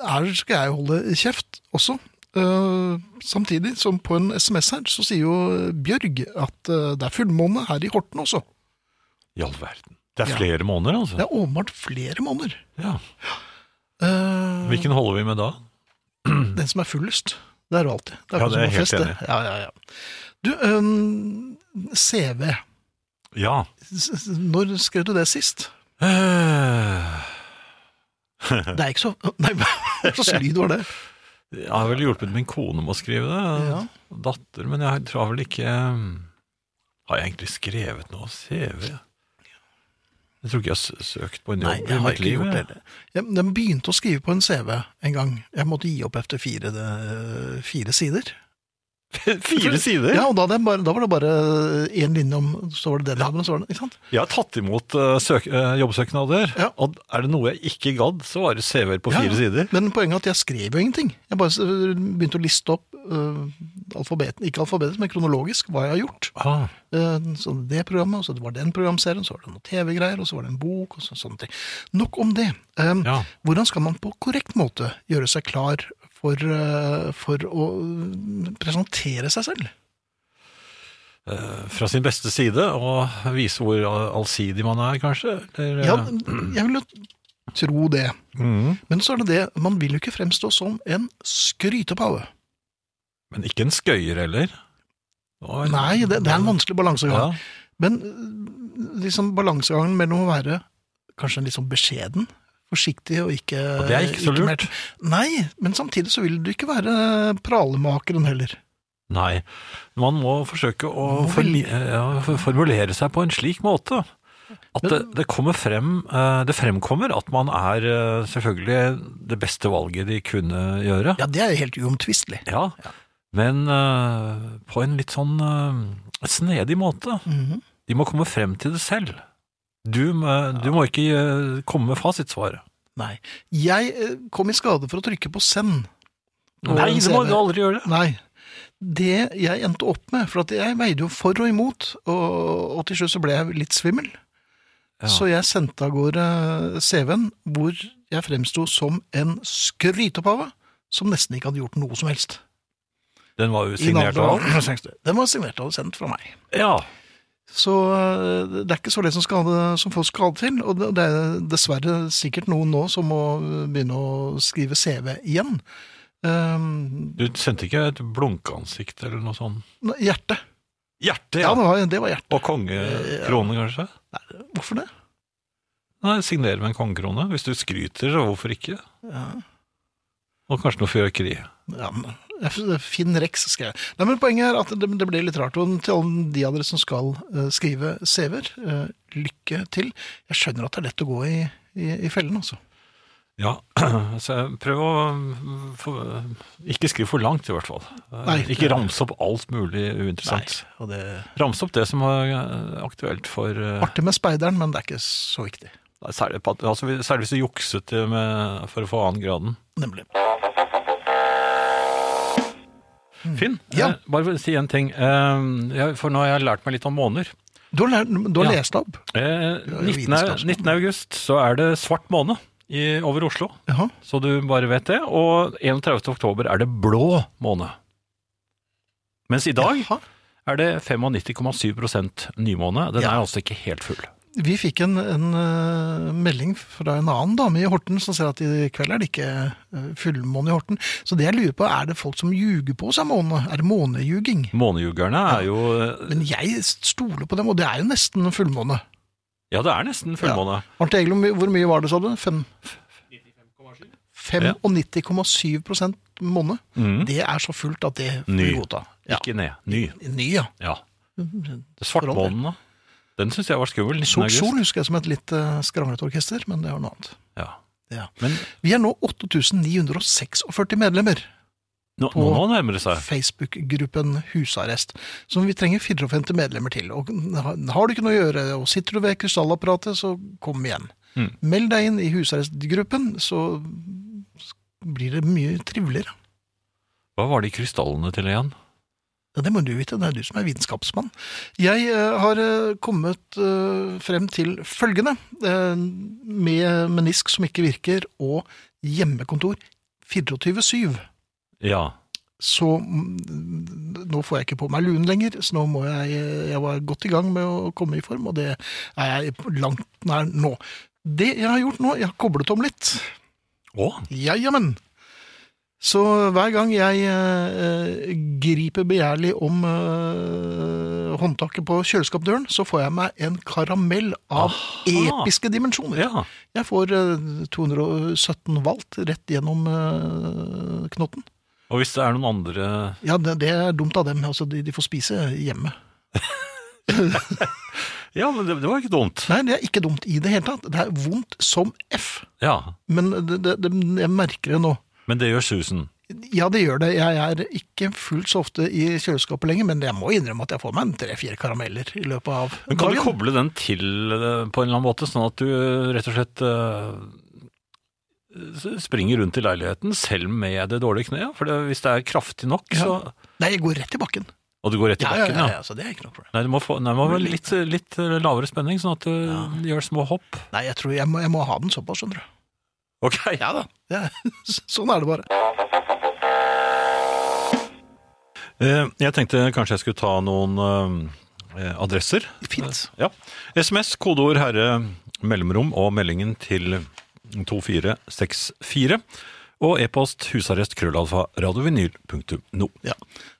Speaker 2: Her skal jeg holde kjeft også. Eh, Samtidig som på en SMS her, så sier jo Bjørg at eh, det er fullmåne her i Horten også.
Speaker 3: I all verden. Det
Speaker 2: Ja.
Speaker 3: er flere måneder, altså.
Speaker 2: Det er åpenbart flere måneder.
Speaker 3: Ja.
Speaker 2: Eh,
Speaker 3: Hvilken holder vi med da?
Speaker 2: Den som er fullest. Det er jo alltid. Det
Speaker 3: Ja,
Speaker 2: akkurat
Speaker 3: det
Speaker 2: som
Speaker 3: er
Speaker 2: på
Speaker 3: jeg
Speaker 2: fest,
Speaker 3: helt
Speaker 2: det. Ja, ja, ja. Du, eh, CV.
Speaker 3: Ja.
Speaker 2: S- s- Når skrev du det sist?
Speaker 3: Eh,
Speaker 2: Det er ikke så Nei, hva slags lyd var det?
Speaker 3: Jeg har vel hjulpet min kone med å skrive det.
Speaker 2: Ja.
Speaker 3: Datter, men jeg tror vel ikke Har jeg egentlig skrevet noe CV? Jeg tror ikke jeg har s- søkt på en jobb
Speaker 2: Nei, jeg
Speaker 3: i
Speaker 2: har
Speaker 3: mitt
Speaker 2: ikke
Speaker 3: liv.
Speaker 2: gjort det.
Speaker 3: jeg.
Speaker 2: heller. Jeg, den begynte å skrive på en CV en gang. Jeg måtte gi opp etter fire, eh, fire sider.
Speaker 3: Fire sider!
Speaker 2: Ja, og da, hadde jeg bare, da var det bare én linje om Så var det den jobben, og så var det Ikke sant?
Speaker 3: Jeg har tatt imot eh, søk, eh, jobbsøknader,
Speaker 2: Ja.
Speaker 3: og er det noe jeg ikke gadd, så var det CV-er på
Speaker 2: Ja,
Speaker 3: fire
Speaker 2: ja.
Speaker 3: sider.
Speaker 2: Men poenget er at jeg skrev jo ingenting. Jeg bare eh, begynte å liste opp uh, alfabeten, ikke alfabetet, men kronologisk, hva jeg har gjort.
Speaker 3: Ah,
Speaker 2: Eh, Så det programmet, og så var det den programserien, så var det noen TV-greier, og så var det en bok, og så, sånne ting. Nok om det. Um,
Speaker 3: Ja.
Speaker 2: Hvordan skal man på korrekt måte gjøre seg klar for, eh, for å eh, presentere seg selv?
Speaker 3: eh, fra sin beste side, og vise hvor al- allsidig man er, kanskje? Eller, eh,
Speaker 2: Ja, jeg vil jo tro det.
Speaker 3: mhm.
Speaker 2: Men så er det det, man vil jo ikke fremstå som en skrytepave.
Speaker 3: Men ikke en skøyer heller? Nå er-
Speaker 2: Nei, det, det er en vanskelig balansegang.
Speaker 3: Ja.
Speaker 2: Men eh, liksom balansegangen mellom å være kanskje litt sånn beskjeden, forsiktig og ikke
Speaker 3: Og det er ikke så
Speaker 2: mer-
Speaker 3: lurt.
Speaker 2: Nei, men samtidig så vil du ikke være pralemakeren heller.
Speaker 3: Nei, man må forsøke å
Speaker 2: Må
Speaker 3: forli- eh,
Speaker 2: vi?
Speaker 3: ja, for- formulere seg på en slik måte At det, det kommer frem eh, Det fremkommer at man er eh, selvfølgelig det beste valget de kunne gjøre.
Speaker 2: Ja, det er jo helt uomtvistelig.
Speaker 3: Ja. Men eh, på en litt sånn eh, snedig måte.
Speaker 2: Mhm.
Speaker 3: De må komme frem til det selv. Du, må- du må ikke eh, komme med fasitsvaret.
Speaker 2: Nei. Jeg eh, kom i skade for å trykke på send. Og
Speaker 3: Nei, det må
Speaker 2: senere-
Speaker 3: du aldri gjøre. det.
Speaker 2: Nei. Det jeg endte opp med, for at jeg veide jo for og imot, og, og til slutt så ble jeg litt svimmel.
Speaker 3: Ja.
Speaker 2: Så jeg sendte av gårde CV-en, hvor jeg fremsto som en skrytepave som nesten ikke hadde gjort noe som helst.
Speaker 3: Den var jo
Speaker 2: I
Speaker 3: signert av
Speaker 2: navnet- Den var signert og sendt fra meg.
Speaker 3: Ja.
Speaker 2: Så øh, det er ikke så lett som, skade, som folk skal ha det til, og det det er dessverre sikkert noen nå som må øh, begynne å skrive CV igjen. Ehm,
Speaker 3: Du sendte ikke et blunkeansikt eller noe sånn? sånt?
Speaker 2: ne- hjerte.
Speaker 3: Hjerte,
Speaker 2: Ja,
Speaker 3: ja.
Speaker 2: det var, det var hjerte.
Speaker 3: Og kongekrone, kanskje?
Speaker 2: Hvorfor det?
Speaker 3: Nei, signer med en kongekrone. Hvis du skryter, så hvorfor ikke?
Speaker 2: Ja.
Speaker 3: Og kanskje noe fyrverkeri.
Speaker 2: Ja, men, F- Finn Rex skrev jeg. Nei, men Poenget er at det, det blir litt rart. Og til alle de av dere som skal eh, skrive CV-er, eh, lykke til. Jeg skjønner at det er lett å gå i, i, i fellen, altså.
Speaker 3: Ja, så jeg prøv å mm, få- Ikke skriv for langt, i hvert fall.
Speaker 2: Nei.
Speaker 3: ikke ramse opp alt mulig uinteressant.
Speaker 2: Nei, og det er
Speaker 3: Ramse opp det som er eh, aktuelt for eh,
Speaker 2: Artig med speideren, men det er ikke så viktig.
Speaker 3: Særlig, på at- altså, hvis- særlig hvis du jukset det med, for å få annen graden.
Speaker 2: Nemlig.
Speaker 3: Finn,
Speaker 2: Mm. Ja.
Speaker 3: eh, bare for å si en ting. Eh, jeg- for nå har jeg lært meg litt om måneder.
Speaker 2: Du har, lært, du har
Speaker 3: Ja.
Speaker 2: lest opp?
Speaker 3: Eh,
Speaker 2: Du er jo
Speaker 3: 19. au-
Speaker 2: vitenskapsmann.
Speaker 3: 19. august så er det svart måned i, over Oslo,
Speaker 2: Jaha.
Speaker 3: så du bare vet det. Og 31. oktober er det blå måned. Mens i dag
Speaker 2: Jaha.
Speaker 3: er det 95,7 nymåne. Den
Speaker 2: Ja.
Speaker 3: er altså ikke helt full.
Speaker 2: Vi fikk en, en eh, melding fra en annen dame i Horten som sier at i kveld er det ikke eh, fullmåne i Horten. Så det jeg lurer på, er det folk som ljuger på seg måne? Er det månejuging?
Speaker 3: Månejugerne er jo
Speaker 2: Men jeg stoler på dem, og det er jo nesten fullmåne.
Speaker 3: Ja, det er nesten fullmåne.
Speaker 2: Arnt Egil, hvor mye- hvor mye var det, sa du? Fem- 95,7 måne.
Speaker 3: Mm.
Speaker 2: Det er så fullt at det får
Speaker 3: Ny.
Speaker 2: vi godta. Ja.
Speaker 3: Ikke ned. Ny.
Speaker 2: Ny, ja.
Speaker 3: Ja. Svartmånen, da. Den syns jeg var skummel. 19.
Speaker 2: Sort
Speaker 3: august.
Speaker 2: Sol husker jeg som et litt eh, skramlet orkester, men det var noe annet.
Speaker 3: Ja.
Speaker 2: Ja.
Speaker 3: Men
Speaker 2: Vi er nå 8946 medlemmer.
Speaker 3: nå,
Speaker 2: På-
Speaker 3: nå nærmer det seg.
Speaker 2: Facebook-gruppen Husarrest, som vi trenger 54 medlemmer til. Og har du ikke noe å gjøre, og sitter du ved krystallapparatet, så kom igjen.
Speaker 3: Mm.
Speaker 2: Meld deg inn i husarrestgruppen, så blir det mye triveligere.
Speaker 3: Hva var de krystallene til igjen?
Speaker 2: Ja, det må du vite, det er du som er vitenskapsmann. Jeg eh, har eh, kommet eh, frem til følgende, eh, med menisk som ikke virker, og hjemmekontor 24-7.
Speaker 3: Ja.
Speaker 2: så mm, nå får jeg ikke på meg luen lenger, så nå må jeg Jeg var godt i gang med å komme i form, og det er jeg langt nær nå. Det jeg har gjort nå, jeg har koblet om litt.
Speaker 3: Å?
Speaker 2: Ja, jammen. Så hver gang jeg eh, griper begjærlig om eh, håndtaket på kjøleskapdøren, så får jeg meg en karamell av
Speaker 3: Aha.
Speaker 2: episke dimensjoner.
Speaker 3: Ja.
Speaker 2: Jeg får eh, 217 valgt rett gjennom eh, knotten.
Speaker 3: Og hvis det er noen andre
Speaker 2: Ja, det, det er dumt av dem. Altså, de, de får spise hjemme.
Speaker 3: Ja, men det, det var ikke dumt.
Speaker 2: Nei, det er ikke dumt i det hele tatt. Det er vondt som F.
Speaker 3: Ja.
Speaker 2: Men det, det, det, jeg merker det nå.
Speaker 3: Men det gjør susen.
Speaker 2: Ja, det gjør det. Jeg er ikke fullt så ofte i kjøleskapet lenger, men jeg må innrømme at jeg får meg en tre-fire karameller i løpet av
Speaker 3: Men kan du koble den til eh, på en eller annen måte, sånn at du eh, rett og slett eh, s- springer rundt i leiligheten selv med det dårlige kneet? For det, hvis det er kraftig nok,
Speaker 2: Ja.
Speaker 3: så
Speaker 2: Nei, jeg går rett i bakken.
Speaker 3: Og du går rett i
Speaker 2: Ja, ja,
Speaker 3: bakken,
Speaker 2: ja,
Speaker 3: ja.
Speaker 2: ja, så det er ikke noe problem.
Speaker 3: Nei, du må få nei, du må ha litt, litt lavere spenning, sånn at du gjør små hopp.
Speaker 2: Nei, jeg tror jeg må, jeg må ha den såpass, skjønner du.
Speaker 3: Ok. Ja da.
Speaker 2: Det er, sånn er det bare.
Speaker 3: Eh, Jeg tenkte kanskje jeg skulle ta noen eh, adresser.
Speaker 2: Fint.
Speaker 3: Ja. SMS, kodeord herre, mellomrom og meldingen til 2464. Og e-post husarrest krøllalfa radiovinyl.no.
Speaker 2: Ja.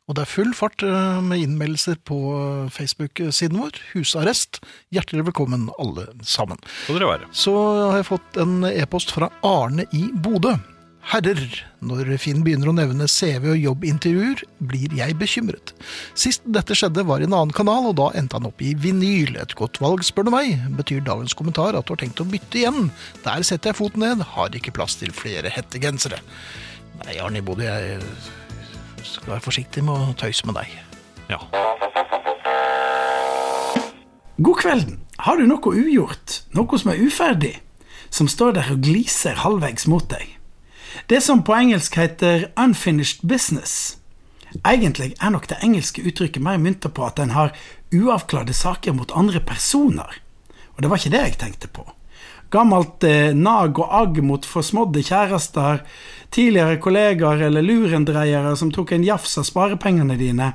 Speaker 2: Og det er full fart eh, med innmeldelser på eh, Facebook-siden vår. Husarrest. Hjertelig velkommen, alle sammen.
Speaker 3: Skal dere være.
Speaker 2: så har jeg fått en e-post fra Arne i Bodø. herrer. Når Finn begynner å nevne CV og jobbintervjuer, blir jeg bekymret. Sist dette skjedde var i en annen kanal, og da endte han opp i vinyl. Et godt valg, spør du meg. Betyr dagens kommentar at du har tenkt å bytte igjen? Der setter jeg foten ned, har ikke plass til flere hettegensere. Nei, Arne Bodø, jeg skal være forsiktig med å tøyse med deg.
Speaker 3: Ja.
Speaker 4: God kvelden. Har du noe ugjort, noe som er uferdig, som står der og gliser halvveis mot deg? Det som på engelsk heter 'unfinished business'. Egentlig er nok det engelske uttrykket mer mynter på at en har uavklarte saker mot andre personer. Og det var ikke det jeg tenkte på. Gammelt eh, nag og agg mot forsmådde kjærester, tidligere kollegaer eller lurendreiere som tok en jafs av sparepengene dine.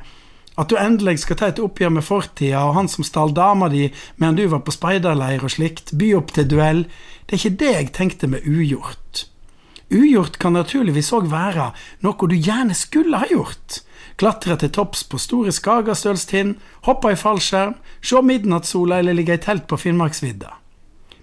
Speaker 4: At du endelig skal ta et oppgjør med fortida og han som stal dama di mens du var på speiderleir og slikt, by opp til duell. Det er ikke det jeg tenkte med ugjort. Ugjort kan naturligvis òg være noe du gjerne skulle ha gjort. Klatre til topps på Store Skagastølstind, hoppe i fallskjerm, se midnattssola eller ligge i telt på Finnmarksvidda.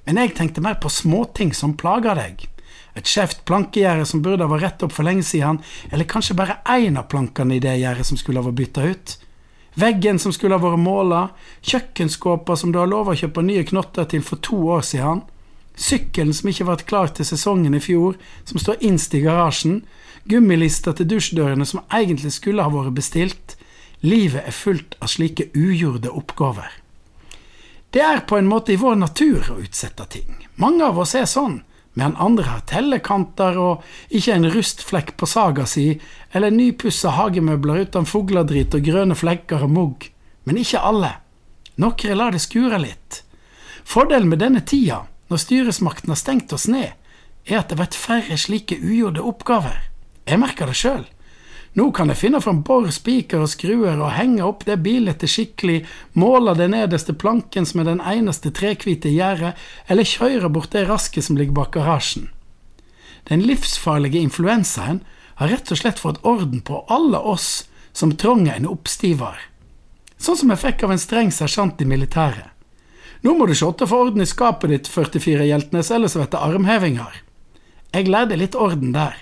Speaker 4: Men jeg tenkte mer på småting som plager deg. Et skjevt plankegjerde som burde ha vært rett opp for lenge siden, eller kanskje bare én av plankene i det gjerdet som skulle ha vært bytta ut. Veggen som skulle ha vært måla, kjøkkenskåper som du har lova å kjøpe nye knotter til for to år siden, sykkelen som ikke ble klar til sesongen i fjor, som står innst i garasjen, gummilister til dusjdørene som egentlig skulle ha vært bestilt. Livet er fullt av slike ugjorde oppgaver. Det er på en måte i vår natur å utsette ting. Mange av oss er sånn, men andre har tellekanter og ikke en rustflekk på saga si, eller nypussa hagemøbler uten fugledrit og grønne flekker og mugg. Men ikke alle. Noen lar det skure litt. Fordelen med denne tida, når styresmakten har stengt oss ned, er at det blir færre slike ugjorte oppgaver. Jeg merker det sjøl. Nå kan jeg finne fram bor, spiker og skruer og henge opp det bildet skikkelig, måle den nederste planken som er den eneste trekvite i gjerdet, eller kjøre bort det rasket som ligger bak garasjen. Den livsfarlige influensaen har rett og slett fått orden på alle oss som trenger en oppstiver. Sånn som jeg fikk av en streng sersjant i militæret. Nå må du sjåtte få orden i skapet ditt, 44 Hjeltnes, ellers blir det armhevinger. Jeg lærte litt orden der.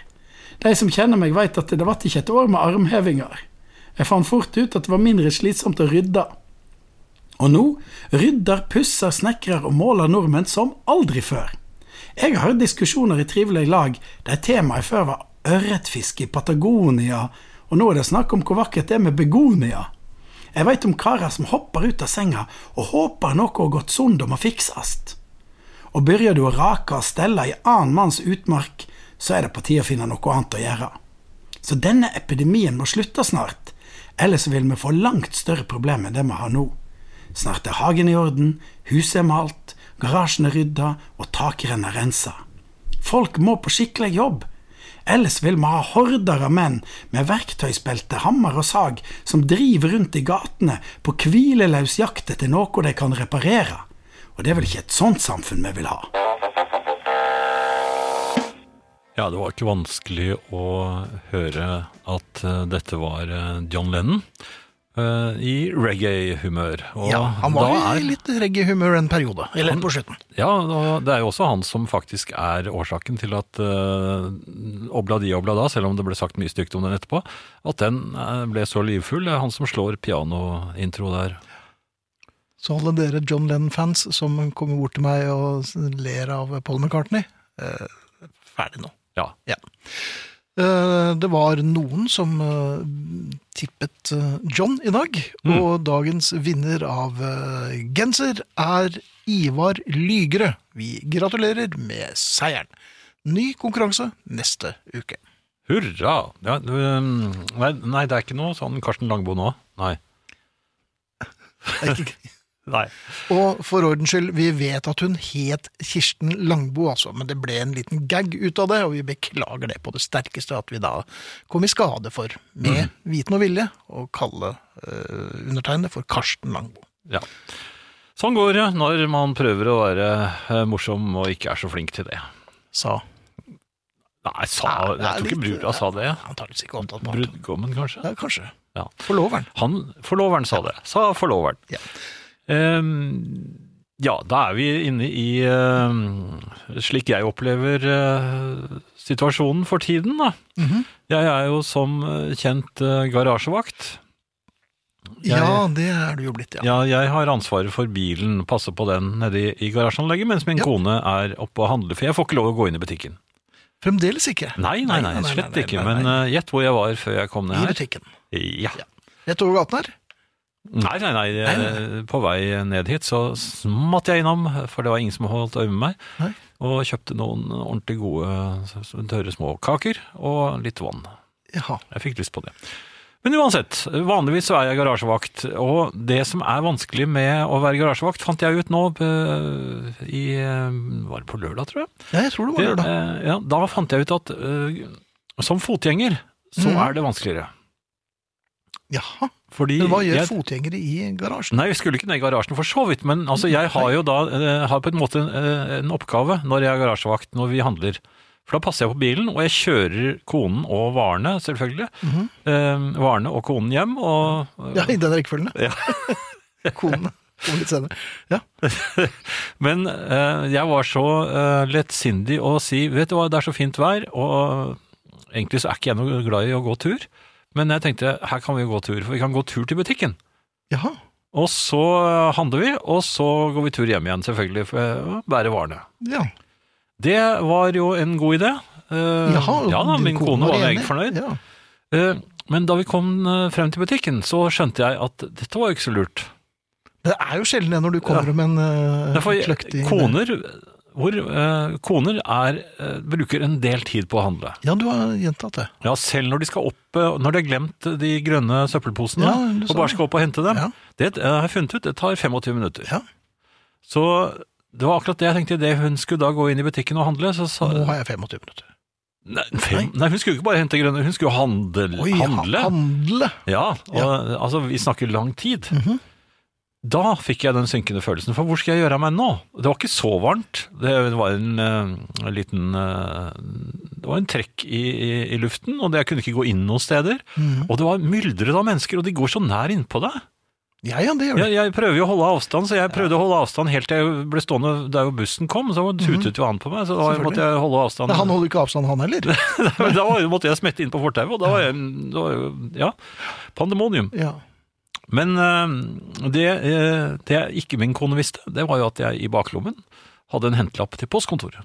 Speaker 4: De som kjenner meg, vet at det ble ikke et år med armhevinger. Jeg fant fort ut at det var mindre slitsomt å rydde. Og nå rydder, pusser, snekrer og måler nordmenn som aldri før. Jeg har hørt diskusjoner i trivelige lag der temaet før var ørretfiske i Patagonia, og nå er det snakk om hvor vakkert det er med begonia. Jeg veit om karer som hopper ut av senga og håper noe har gått sund og må fikses. Og begynner du å rake og stelle i annen manns utmark, så er det på tide å finne noe annet å gjøre. Så denne epidemien må slutte snart, ellers vil vi få langt større problemer enn det vi har nå. Snart er hagen i orden, huset er malt, garasjen er rydda og takrenna rensa. Folk må på skikkelig jobb, ellers vil vi ha horder av menn med verktøysbelte, hammer og sag som driver rundt i gatene på hvileløs jakt etter noe de kan reparere. Og det er vel ikke et sånt samfunn vi vil ha.
Speaker 3: ja, det var ikke vanskelig å høre at eh, dette var eh, John Lennon eh, i reggae-humør. Og
Speaker 2: Ja, han var
Speaker 3: da
Speaker 2: jo
Speaker 3: er-
Speaker 2: i litt reggae-humør en periode, eller på slutten.
Speaker 3: Ja, og det er jo også han som faktisk er årsaken til at uh, Obla di, obla da, selv om det ble sagt mye stygt om den etterpå, at den eh, ble så livfull. Det er han som slår pianointro der.
Speaker 2: Så alle dere John Lennon-fans som kommer bort til meg og s- ler av Paul McCartney eh, Ferdig nå.
Speaker 3: Ja.
Speaker 2: Eh, det var noen som eh, tippet eh, John i dag, og dagens vinner av eh, genser er Ivar Lygre. Vi gratulerer med seieren. Ny konkurranse neste uke.
Speaker 3: Hurra! Ja, um, nei, nei, det er ikke noe sånn Karsten Langbo nå. Nei.
Speaker 2: Det er ikke-
Speaker 3: nei.
Speaker 2: Og for ordens skyld, vi vet at hun het Kirsten Langbo, altså, men det ble en liten gag ut av det, og vi beklager det på det sterkeste at vi da kom i skade for,
Speaker 3: Mm.
Speaker 2: med viten og vilje, å kalle uh, undertegnede for Karsten Langbo.
Speaker 3: Ja. Sånn går det når man prøver å være eh, morsom og ikke er så flink til det.
Speaker 2: Sa
Speaker 3: Nei, sa,
Speaker 2: Nei, det er
Speaker 3: jeg tror ikke
Speaker 2: litt- eh,
Speaker 3: brura sa det.
Speaker 2: antakeligvis ikke opptatt på alt.
Speaker 3: Brudgommen, kanskje?
Speaker 2: Ja, kanskje.
Speaker 3: Ja.
Speaker 2: Forloveren.
Speaker 3: Han, forloveren sa det. Sa forloveren.
Speaker 2: Ja.
Speaker 3: Ehm, ja, da er vi inne i ehm, slik jeg opplever eh, situasjonen for tiden, da.
Speaker 2: Mhm.
Speaker 3: Jeg er jo som eh, kjent eh, garasjevakt. Jeg-
Speaker 2: Ja, det er du jo blitt, ja.
Speaker 3: Ja, jeg har ansvaret for bilen, passer på den nede i- i garasjeanlegget, mens min
Speaker 2: Ja.
Speaker 3: kone er oppe og handler, for jeg får ikke lov å gå inn i butikken.
Speaker 2: Fremdeles ikke.
Speaker 3: Nei, nei,
Speaker 2: Nei, nei,
Speaker 3: nei,
Speaker 2: nei,
Speaker 3: slett
Speaker 2: nei,
Speaker 3: ikke,
Speaker 2: nei, nei.
Speaker 3: men eh, gjett hvor jeg var før jeg kom ned
Speaker 2: I
Speaker 3: her.
Speaker 2: butikken.
Speaker 3: Ja.
Speaker 2: Rett over gaten her.
Speaker 3: Nei, nei, nei,
Speaker 2: Mm. Nei, nei,
Speaker 3: eh, på vei ned hit så smatt jeg innom, for det var ingen som holdt øye med meg,
Speaker 2: Nei.
Speaker 3: og kjøpte noen ordentlig gode, s- s- tørre små kaker og litt vann.
Speaker 2: Jaha.
Speaker 3: Jeg fikk lyst på det. Men uansett, vanligvis så er jeg garasjevakt, og det som er vanskelig med å være garasjevakt, fant jeg ut nå eh, i eh, Var det på lørdag, tror jeg?
Speaker 2: Ja, jeg tror det var lørdag.
Speaker 3: Det, eh, ja, da fant jeg ut at eh, som fotgjenger så
Speaker 2: Mhm.
Speaker 3: er det vanskeligere.
Speaker 2: Jaha.
Speaker 3: Fordi
Speaker 2: Men hva gjør
Speaker 3: jeg,
Speaker 2: fotgjengere i garasjen?
Speaker 3: Nei, vi skulle ikke ned i garasjen for så vidt, men altså, jeg har jo da eh, har på en måte en, eh, en oppgave når jeg er garasjevakt, når vi handler. For da passer jeg på bilen, og jeg kjører konen og varene, selvfølgelig.
Speaker 2: Mhm.
Speaker 3: eh, varene og konen hjem, og
Speaker 2: Ja, i den rekkefølgen.
Speaker 3: Ja.
Speaker 2: Konene kommer litt senere. Ja.
Speaker 3: Men eh, jeg var så eh, lettsindig å si Vet du hva, det er så fint vær, og egentlig så er ikke jeg noe glad i å gå tur. Men jeg tenkte her kan vi jo gå tur, for vi kan gå tur til butikken.
Speaker 2: Jaha.
Speaker 3: Og så eh, handler vi, og så går vi tur hjem igjen, selvfølgelig, for eh, å bære varene.
Speaker 2: Ja.
Speaker 3: Det var jo en god idé. Eh,
Speaker 2: Jaha,
Speaker 3: ja da,
Speaker 2: din
Speaker 3: min kone var
Speaker 2: enig.
Speaker 3: meget fornøyd.
Speaker 2: Ja.
Speaker 3: Eh, men da vi kom eh, frem til butikken, så skjønte jeg at dette var jo ikke så lurt.
Speaker 2: Det er jo sjelden det når du kommer med en eh,
Speaker 3: Derfor,
Speaker 2: kløktig
Speaker 3: koner, hvor, eh, koner er, eh, bruker en del tid på å handle.
Speaker 2: Ja, du har gjentatt det.
Speaker 3: Ja, selv når de skal opp, eh, når de har glemt de grønne søppelposene,
Speaker 2: Ja, du sa
Speaker 3: og bare
Speaker 2: det.
Speaker 3: skal opp og hente dem,
Speaker 2: Ja.
Speaker 3: det eh, har jeg funnet ut, det tar 25 minutter.
Speaker 2: Ja.
Speaker 3: Så det var akkurat det jeg tenkte, det hun skulle da gå inn i butikken og handle, så sa
Speaker 2: Nå har jeg 25 minutter.
Speaker 3: nei, fem, nei, hun skulle ikke bare hente grønne, hun skulle jo handle.
Speaker 2: Oi,
Speaker 3: handle.
Speaker 2: handle.
Speaker 3: Ja, og, altså vi snakker lang tid.
Speaker 2: Mhm.
Speaker 3: Da fikk jeg den synkende følelsen, for hvor skal jeg gjøre av meg nå? Det var ikke så varmt, det var en eh, liten eh, Det var en trekk i, i, i luften, og det- jeg kunne ikke gå inn noen steder.
Speaker 2: Mhm.
Speaker 3: Og det var myldret av mennesker, og de går så nær innpå deg.
Speaker 2: Ja, ja, det gjør det.
Speaker 3: Jeg, jeg prøver jo å holde avstand, så jeg prøvde å holde avstand helt til jeg ble stående der hvor bussen kom, så tutet jo han på meg, så da
Speaker 2: Selvfølgelig.
Speaker 3: måtte jeg holde avstand.
Speaker 2: Han holder ikke avstand, han heller.
Speaker 3: Men da var- måtte jeg smette inn på fortauet, og da var jeg da var jo- Ja, pandemonium.
Speaker 2: Ja.
Speaker 3: Men eh, det, eh, det ikke min kone visste, det var jo at jeg i baklommen hadde en hentelapp til postkontoret.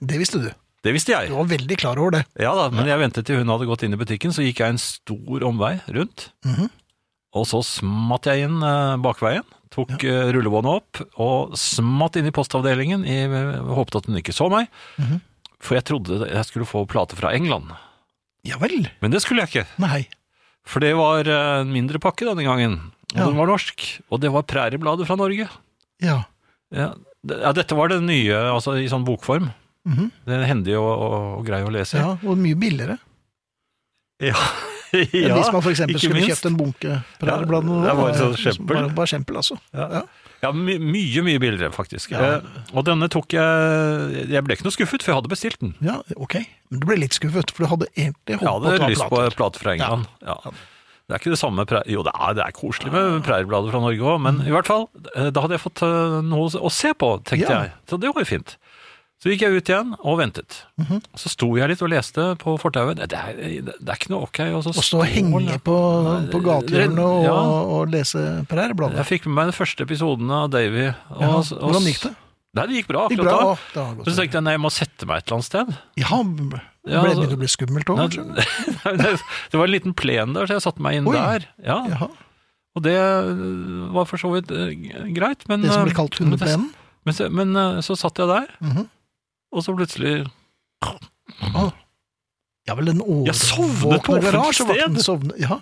Speaker 2: Det visste du.
Speaker 3: Det visste
Speaker 2: Du
Speaker 3: jeg.
Speaker 2: var veldig klar over det.
Speaker 3: Ja da, men jeg ventet til hun hadde gått inn i butikken, så gikk jeg en stor omvei rundt.
Speaker 2: Mhm.
Speaker 3: Og så smatt jeg inn eh, bakveien, tok eh, rullebåndet opp og smatt inn i postavdelingen. I, eh, håpet at hun ikke så meg,
Speaker 2: Mhm.
Speaker 3: for jeg trodde jeg skulle få plate fra England.
Speaker 2: Ja vel.
Speaker 3: Men det skulle jeg ikke.
Speaker 2: Nei.
Speaker 3: For det var eh, en mindre pakke denne gangen, og
Speaker 2: Ja.
Speaker 3: den var norsk. Og det var præriebladet fra Norge.
Speaker 2: Ja.
Speaker 3: Ja, det, ja, dette var det nye, altså i sånn bokform.
Speaker 2: Mhm.
Speaker 3: Det er hendig og, og, og grei å lese.
Speaker 2: ja. Og mye billigere
Speaker 3: ja.
Speaker 2: enn hvis man f.eks.
Speaker 3: ikke
Speaker 2: skulle
Speaker 3: minst.
Speaker 2: kjøpt en bunke
Speaker 3: Ja,
Speaker 2: prærblad.
Speaker 3: det var et sånt skjempel.
Speaker 2: Bare, bare skjempel, altså.
Speaker 3: Ja.
Speaker 2: Ja.
Speaker 3: Ja, my, mye, mye billigere, faktisk.
Speaker 2: Ja.
Speaker 3: Eh, og denne tok jeg Jeg ble ikke noe skuffet, for jeg hadde bestilt den.
Speaker 2: Ja, ok. Men du ble litt skuffet, for du hadde egentlig
Speaker 3: Jeg
Speaker 2: håpet på at
Speaker 3: hadde
Speaker 2: det
Speaker 3: lyst
Speaker 2: var
Speaker 3: på
Speaker 2: plater.
Speaker 3: plate fra England. Ja. Det er ikke det samme præ- Jo, det er, det er koselig med prærieblader fra Norge òg, men i hvert fall, eh, da hadde jeg fått eh, noe å se på, tenkte
Speaker 2: Ja.
Speaker 3: jeg. Så det var jo fint. Så gikk jeg ut igjen og ventet.
Speaker 2: Mhm.
Speaker 3: Så sto jeg litt og leste på fortauet. Det, er- det er ikke noe ok. altså, Og så
Speaker 2: Å stå og henge på, på gatehjørnet og,
Speaker 3: Ja.
Speaker 2: og lese prærblad.
Speaker 3: Jeg fikk med meg den første episoden av Davy. og-
Speaker 2: Ja.
Speaker 3: og-
Speaker 2: Hvordan gikk det?
Speaker 3: Nei, det gikk bra
Speaker 2: Det gikk
Speaker 3: akkurat
Speaker 2: bra.
Speaker 3: da.
Speaker 2: Å, det har
Speaker 3: Så
Speaker 2: gått.
Speaker 3: tenkte jeg nei, jeg må sette meg et eller annet sted.
Speaker 2: Ja, ble
Speaker 3: Ja,
Speaker 2: det
Speaker 3: altså-
Speaker 2: begynte å bli skummelt òg,
Speaker 3: Nei,
Speaker 2: kanskje?
Speaker 3: det det var en liten plen der, så jeg satte meg inn
Speaker 2: Oi.
Speaker 3: der. Ja,
Speaker 2: Jaha.
Speaker 3: Og det øh, var for så vidt øh, g- greit, men
Speaker 2: Det som
Speaker 3: øh,
Speaker 2: blir kalt
Speaker 3: men det-
Speaker 2: hundeplenen?
Speaker 3: Men, så- men øh, så satt jeg der,
Speaker 2: Mhm.
Speaker 3: og så plutselig
Speaker 2: Ja vel, den
Speaker 3: Jeg sovnet på
Speaker 2: overvåkne
Speaker 3: offentlig
Speaker 2: garasjevakten
Speaker 3: sted.
Speaker 2: sovnet Ja.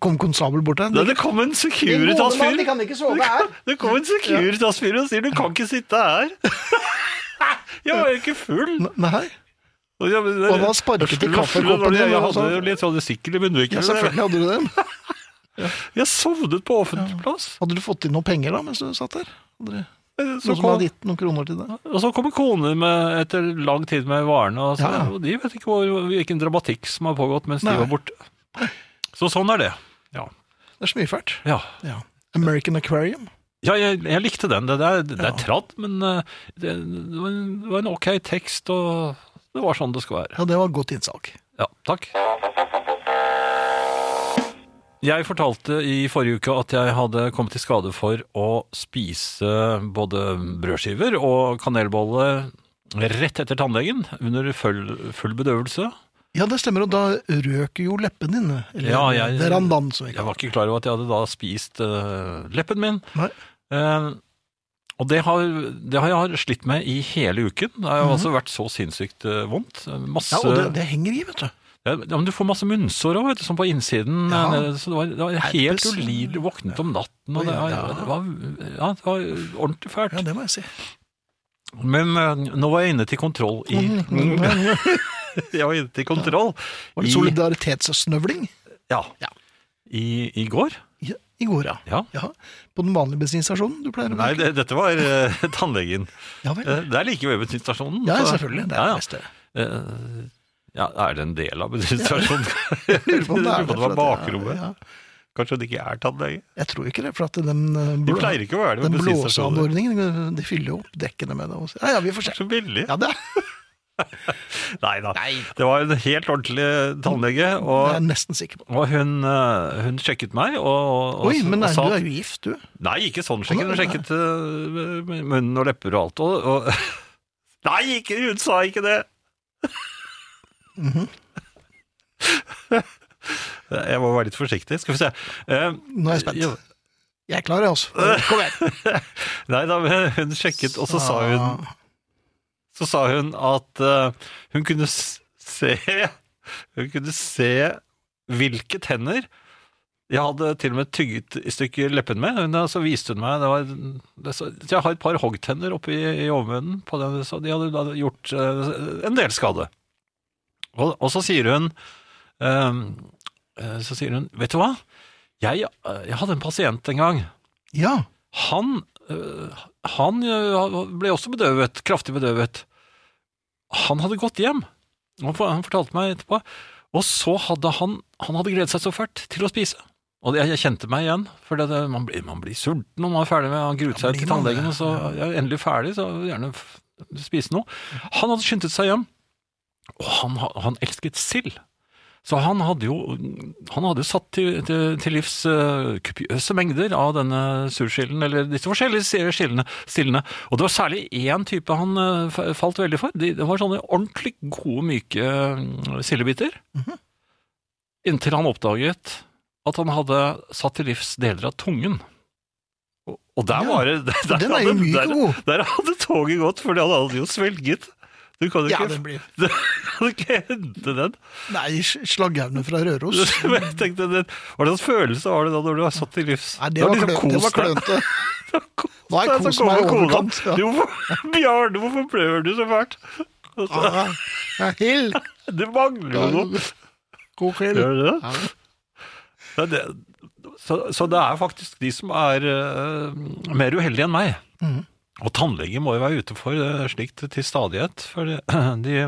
Speaker 2: Kom konstabel bort der.
Speaker 3: Nei, Det kom en Securitas-fyr!
Speaker 2: kan ikke sove her!
Speaker 3: Det kom en Securitas-fyr og sier 'du kan ikke sitte her'. Jeg var jo ikke full.
Speaker 2: Nei.
Speaker 3: Og jeg-
Speaker 2: Og han har sparket i
Speaker 3: Jeg- jeg-
Speaker 2: kaffekoppen din,
Speaker 3: Jeg jeg
Speaker 2: og
Speaker 3: hadde
Speaker 2: sånn.
Speaker 3: jo litt sånn sikkel i
Speaker 2: Ja,
Speaker 3: munnvikene.
Speaker 2: selvfølgelig hadde du den.
Speaker 3: Jeg sovnet på offentlig plass. Eh,
Speaker 2: Hadde du fått inn noen penger da mens du satt der? Hadde du-
Speaker 3: Så
Speaker 2: Noen som
Speaker 3: kom,
Speaker 2: hadde gitt noen kroner til deg?
Speaker 3: og så kommer koner med, etter lang tid med varene, og, så,
Speaker 2: Ja.
Speaker 3: og de vet ikke hvor, hvilken dramatikk som har pågått mens
Speaker 2: Nei.
Speaker 3: de var borte. Så sånn er det. Ja.
Speaker 2: Det er så mye fælt.
Speaker 3: Ja,
Speaker 2: Ja. American Aquarium.
Speaker 3: ja jeg, jeg likte den. Det, det, er- det
Speaker 2: Ja.
Speaker 3: er tradd, men eh, det, det var en- det var en ok tekst, og Det var sånn det skal være.
Speaker 2: Ja, det var et godt innsalg.
Speaker 3: Ja, takk. Jeg fortalte i forrige uke at jeg hadde kommet i skade for å spise både brødskiver og kanelbolle rett etter tannlegen, under full, full bedøvelse.
Speaker 2: Ja, det stemmer, og da røk jo leppen din. Eller
Speaker 3: Ja, jeg-
Speaker 2: verandaen, som vi
Speaker 3: Jeg
Speaker 2: kaller
Speaker 3: var ikke klar over at jeg hadde da spist eh, leppen min.
Speaker 2: Nei.
Speaker 3: Eh, og det har, det har jeg slitt med i hele uken. Det har jo altså vært så sinnssykt eh, vondt. Masse,
Speaker 2: Mhm. Ja, og det, det henger i, vet du.
Speaker 3: Ja, ja, men du får masse munnsår òg, sånn på innsiden.
Speaker 2: Ja.
Speaker 3: eh, Så det var, det var helt
Speaker 2: Herpes.
Speaker 3: ulidelig. Du våknet om natten, og det var,
Speaker 2: Ja.
Speaker 3: det var, ja, det var ordentlig
Speaker 2: Ja,
Speaker 3: fælt.
Speaker 2: det må jeg si.
Speaker 3: Men eh, nå var jeg inne til kontroll i
Speaker 2: Var
Speaker 3: Jeg var inne til kontroll
Speaker 2: det
Speaker 3: i,
Speaker 2: solidaritetssnøvling
Speaker 3: ja,
Speaker 2: Ja.
Speaker 3: i, i går.
Speaker 2: i, i går, ja.
Speaker 3: Ja.
Speaker 2: ja? På den vanlige bensinstasjonen du pleier å
Speaker 3: Nei, det, dette var eh, tannlegen.
Speaker 2: Ja vel.
Speaker 3: Eh, Det er like ved bensinstasjonen.
Speaker 2: Ja,
Speaker 3: så-
Speaker 2: selvfølgelig. Det er
Speaker 3: Ja,
Speaker 2: det
Speaker 3: ja.
Speaker 2: beste.
Speaker 3: Eh, ja, er det en del av bensinstasjonen?
Speaker 2: Jeg
Speaker 3: Jeg
Speaker 2: lurer på om det er
Speaker 3: det var
Speaker 2: for at-
Speaker 3: bakrommet.
Speaker 2: Ja,
Speaker 3: Kanskje det ikke er tannlege?
Speaker 2: jeg tror ikke det, for at den, eh,
Speaker 3: De
Speaker 2: blå-
Speaker 3: pleier ikke å være det
Speaker 2: den
Speaker 3: ved bensinstasjonen.
Speaker 2: blåseanordningen eh, De fyller jo opp dekkene med det. også. Ja, ja, vi får
Speaker 3: Det er
Speaker 2: se.
Speaker 3: så billig.
Speaker 2: Ja, det er,
Speaker 3: Nei da. Det var en helt ordentlig tannlege,
Speaker 2: det er
Speaker 3: og,
Speaker 2: jeg nesten sikker på.
Speaker 3: og hun, eh, hun sjekket meg og, og,
Speaker 2: Oi, men
Speaker 3: og
Speaker 2: nei,
Speaker 3: sa
Speaker 2: du er jo gift, du.
Speaker 3: Nei, ikke sånn sjekket. Hun
Speaker 2: Nei.
Speaker 3: sjekket eh, munnen og lepper og alt. Og, og Nei, ikke, hun sa ikke det!
Speaker 2: Mhm.
Speaker 3: Jeg må være litt forsiktig. Skal vi se. Eh,
Speaker 2: Nå er jeg spent.
Speaker 3: jo,
Speaker 2: Jeg er klar, jeg, altså. Kom igjen.
Speaker 3: Nei da, men hun sjekket, og så sa hun,
Speaker 2: Ah.
Speaker 3: så sa hun at eh, hun kunne s- se Hun kunne se hvilke tenner jeg hadde til og med tygget i stykker leppen med. Hun, eh, så viste hun meg det var, det, så, så Jeg har et par hoggtenner oppe i, i overmunnen, på den, så de hadde da gjort eh, en del skade. Og, og så sier hun eh, eh, Så sier hun Vet du hva? Jeg, eh, jeg hadde en pasient en gang.
Speaker 2: Ja.
Speaker 3: Han, øh, han øh, ble også bedøvet, kraftig bedøvet. Han hadde gått hjem, han for- han fortalte meg etterpå, og så hadde han, han hadde gledet seg så fælt til å spise. Og jeg, jeg kjente meg igjen, for det, det, man, blir, man blir sulten når man er ferdig med, han gruet seg
Speaker 2: blir
Speaker 3: til
Speaker 2: man det,
Speaker 3: tannlegen, og så
Speaker 2: ja.
Speaker 3: jeg er endelig ferdig, så gjerne f- spise noe. Han hadde skyndet seg hjem, og han, ha- han elsket sild. Så han hadde jo han hadde jo satt til, til, til livs eh, kopiøse mengder av denne surskillen, eller disse forskjellige si- skillene, stillene. Og det var særlig én type han eh, fa- falt veldig for. De, det var sånne ordentlig gode, myke eh, sildebiter.
Speaker 2: Mhm.
Speaker 3: Inntil han oppdaget at han hadde satt til livs deler av tungen. Og, og der
Speaker 2: Ja.
Speaker 3: var det der,
Speaker 2: Den er jo
Speaker 3: hadde-
Speaker 2: myk
Speaker 3: der,
Speaker 2: og god.
Speaker 3: der hadde toget gått, for han hadde jo svelget. Du kan jo
Speaker 2: ja,
Speaker 3: ikke,
Speaker 2: den blir
Speaker 3: du kan ikke hente den.
Speaker 2: Nei, slaggaune fra Røros.
Speaker 3: Men jeg tenkte, det, Hva slags følelse var det da når du har satt til livs?
Speaker 2: Nei,
Speaker 3: Du
Speaker 2: det
Speaker 3: har
Speaker 2: var,
Speaker 3: liksom
Speaker 2: klø, det
Speaker 3: kost
Speaker 2: var
Speaker 3: deg.
Speaker 2: klønete.
Speaker 3: Kost
Speaker 2: Nå er
Speaker 3: deg, så
Speaker 2: kosen meg
Speaker 3: kommer kona.
Speaker 2: overkant, ja.
Speaker 3: Du, hvorfor- Bjarne, hvorfor blør du så fælt?
Speaker 2: Ah, ja, Hild!
Speaker 3: Det mangler jo noe.
Speaker 2: God kveld.
Speaker 3: Gjør det det?
Speaker 2: Ja.
Speaker 3: Ja, det- Så, så det er faktisk de som er eh, mer uheldige enn meg.
Speaker 2: Mhm.
Speaker 3: Og tannleger må jo være ute for eh, slikt til stadighet, for det- de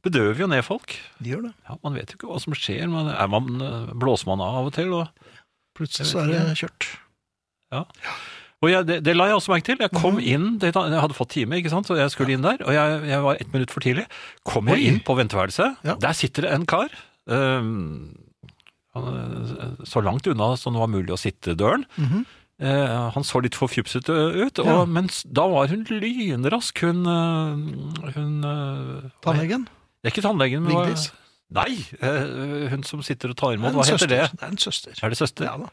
Speaker 3: bedøver jo ned folk.
Speaker 2: De gjør det.
Speaker 3: Ja, man vet jo ikke hva som skjer, men er man, eh, blåser man av av og til? Og
Speaker 2: Plutselig så er det kjørt.
Speaker 3: Og jeg, det, det la jeg også merke til. Jeg kom
Speaker 2: Mhm.
Speaker 3: inn, det, jeg hadde fått time, ikke sant? så jeg skulle inn der. Og jeg, jeg var ett minutt for tidlig. Kom
Speaker 2: Oi.
Speaker 3: jeg inn på venteværelset.
Speaker 2: Ja.
Speaker 3: Der sitter det en kar. øhm, han, øh, så langt unna som det var mulig å sitte døren.
Speaker 2: Mhm.
Speaker 3: Eh, han så litt forfjupset ø, ut,
Speaker 2: Ja.
Speaker 3: og, men s- da var hun lynrask. Hun, øh, hun øh,
Speaker 2: Tannlegen?
Speaker 3: Det er ikke tannlegen, men hva-
Speaker 2: Vigdis?
Speaker 3: Nei! eh, hun som sitter og tar
Speaker 2: Det er
Speaker 3: imot.
Speaker 2: en
Speaker 3: Hva heter
Speaker 2: søster.
Speaker 3: det?
Speaker 2: Det er en søster.
Speaker 3: Er det søster?
Speaker 2: Ja da.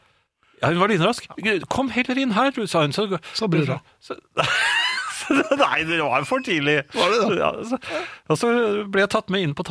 Speaker 3: Ja, hun var lynrask. Kom heller inn her, sa hun. Så
Speaker 2: Sa brura.
Speaker 3: så, nei, det var for tidlig.
Speaker 2: Var det
Speaker 3: Ja, så, og så ble jeg tatt med inn på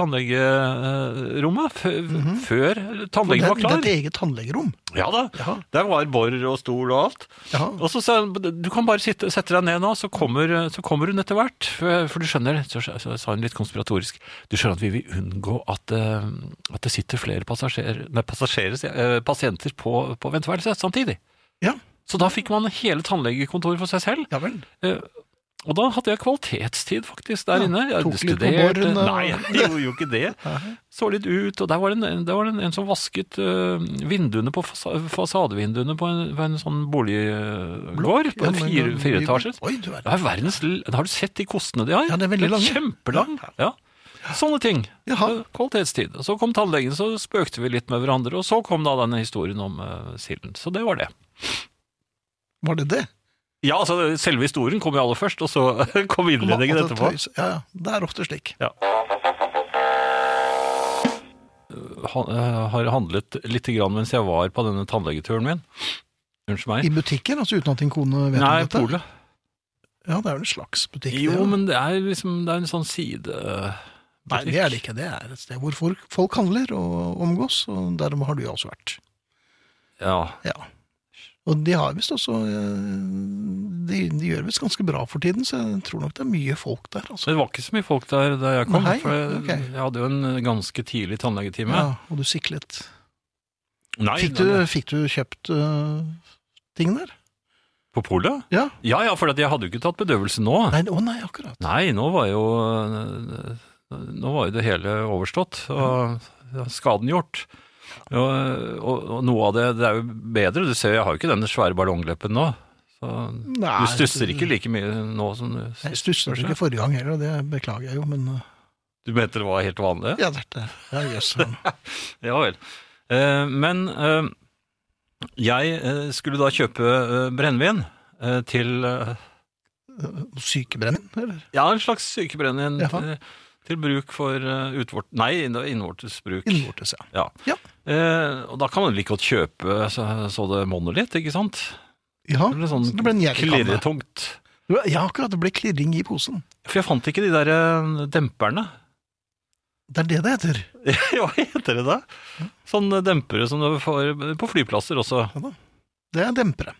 Speaker 3: tannlegerommet før, før
Speaker 2: Det,
Speaker 3: tannlegen var
Speaker 2: Mhm. det er
Speaker 3: klar.
Speaker 2: et eget tannlegerom.
Speaker 3: Ja da,
Speaker 2: Ja.
Speaker 3: Der var bor og stol og alt.
Speaker 2: Ja.
Speaker 3: Og så sa hun du kan bare sitte, sette deg ned nå, så kommer, så kommer hun etter hvert. For, for du skjønner, så, så sa hun litt konspiratorisk, du skjønner at vi vil unngå at, eh, at det sitter flere passasjerer, nei, passasjerer, sier jeg, eh, pasienter på, på venteværelset samtidig.
Speaker 2: Ja.
Speaker 3: Så da fikk man hele tannlegekontoret for seg selv.
Speaker 2: ja vel.
Speaker 3: Eh, Og da hadde jeg kvalitetstid faktisk der
Speaker 2: Ja,
Speaker 3: inne. Jeg
Speaker 2: tok litt på
Speaker 3: studerte-
Speaker 2: borren og-
Speaker 3: Nei, jeg gjorde jo ikke det. Så litt ut, og der var det en, der var det en, en som vasket eh, vinduene på fasa, fasadevinduene på en, på en sånn boliggård på
Speaker 2: Ja,
Speaker 3: en
Speaker 2: men-
Speaker 3: fire, fireetasjes.
Speaker 2: Oi, du er
Speaker 3: Det er verdens, l- har du sett de kostene de har?
Speaker 2: Ja, det er veldig lange.
Speaker 3: Kjempelang. Ja. Sånne ting.
Speaker 2: Jaha.
Speaker 3: Eh, Kvalitetstid. Og Så kom tannlegen, så spøkte vi litt med hverandre, og så kom da denne historien om eh, silden. Så det var det.
Speaker 2: Var det det?
Speaker 3: Ja, altså selve historien kom jo aller først, og så kom innledningen
Speaker 2: Altså,
Speaker 3: etterpå.
Speaker 2: tøys- Ja, ja. Det er ofte slik.
Speaker 3: Han, eh, har handlet litt grann mens jeg var på denne tannlegeturen min. Unnskyld meg.
Speaker 2: I butikken, altså uten at din kone vet
Speaker 3: Nei,
Speaker 2: om dette?
Speaker 3: polet.
Speaker 2: Ja, det er jo en slags butikk. det,
Speaker 3: Jo,
Speaker 2: ja.
Speaker 3: men det er liksom det er en sånn side...
Speaker 2: Nei, det er det ikke. Det er et sted hvor folk, folk handler og omgås, og derom har du jo også vært.
Speaker 3: Ja.
Speaker 2: Ja. Og de har visst også eh, De, de gjør visst ganske bra for tiden, så jeg tror nok det er mye folk der,
Speaker 3: Så
Speaker 2: altså.
Speaker 3: det var ikke så mye folk der da jeg kom.
Speaker 2: Nei,
Speaker 3: for jeg,
Speaker 2: ok.
Speaker 3: jeg hadde jo en ganske tidlig tannlegetime.
Speaker 2: Ja, og du siklet.
Speaker 3: Nei,
Speaker 2: Fikk du, fikk du kjøpt eh, ting der?
Speaker 3: På polet?
Speaker 2: Ja.
Speaker 3: Ja ja, for at jeg hadde jo ikke tatt bedøvelse nå.
Speaker 2: Nei, å nei, akkurat.
Speaker 3: Nei, nå var jo Nå var jo det hele overstått og skaden gjort. Og, og, og noe av det, det er jo bedre. Du ser, jeg har jo ikke denne svære ballongleppen nå. Så
Speaker 2: Nei,
Speaker 3: du stusser ikke like mye nå som du
Speaker 2: Jeg stusset ikke forrige gang heller, og det beklager jeg jo, men eh,
Speaker 3: Du mente det var helt vanlig?
Speaker 2: Ja, dette ja, jøss.
Speaker 3: Ja vel. Eh, men eh, jeg eh, skulle da kjøpe eh, brennevin eh, til eh,
Speaker 2: Sykebrenning, eller?
Speaker 3: Ja, en slags sykebrennevin
Speaker 2: Jaha.
Speaker 3: til, til bruk for uh, utvort... Nei, det var innvortes bruk.
Speaker 2: Innvortes, ja.
Speaker 3: Ja.
Speaker 2: Ja.
Speaker 3: Eh, og da kan man like godt kjøpe eh, så, så det monner litt, ikke sant?
Speaker 2: Ja,
Speaker 3: Det ble sånn
Speaker 2: så det ble en gjerdekanne.
Speaker 3: klirretungt.
Speaker 2: Ja, akkurat. Det ble klirring i posen.
Speaker 3: For jeg fant ikke de der eh, demperne.
Speaker 2: Det er det det heter.
Speaker 3: Hva heter det da? Sånne dempere som du får på flyplasser også.
Speaker 2: Det er dempere.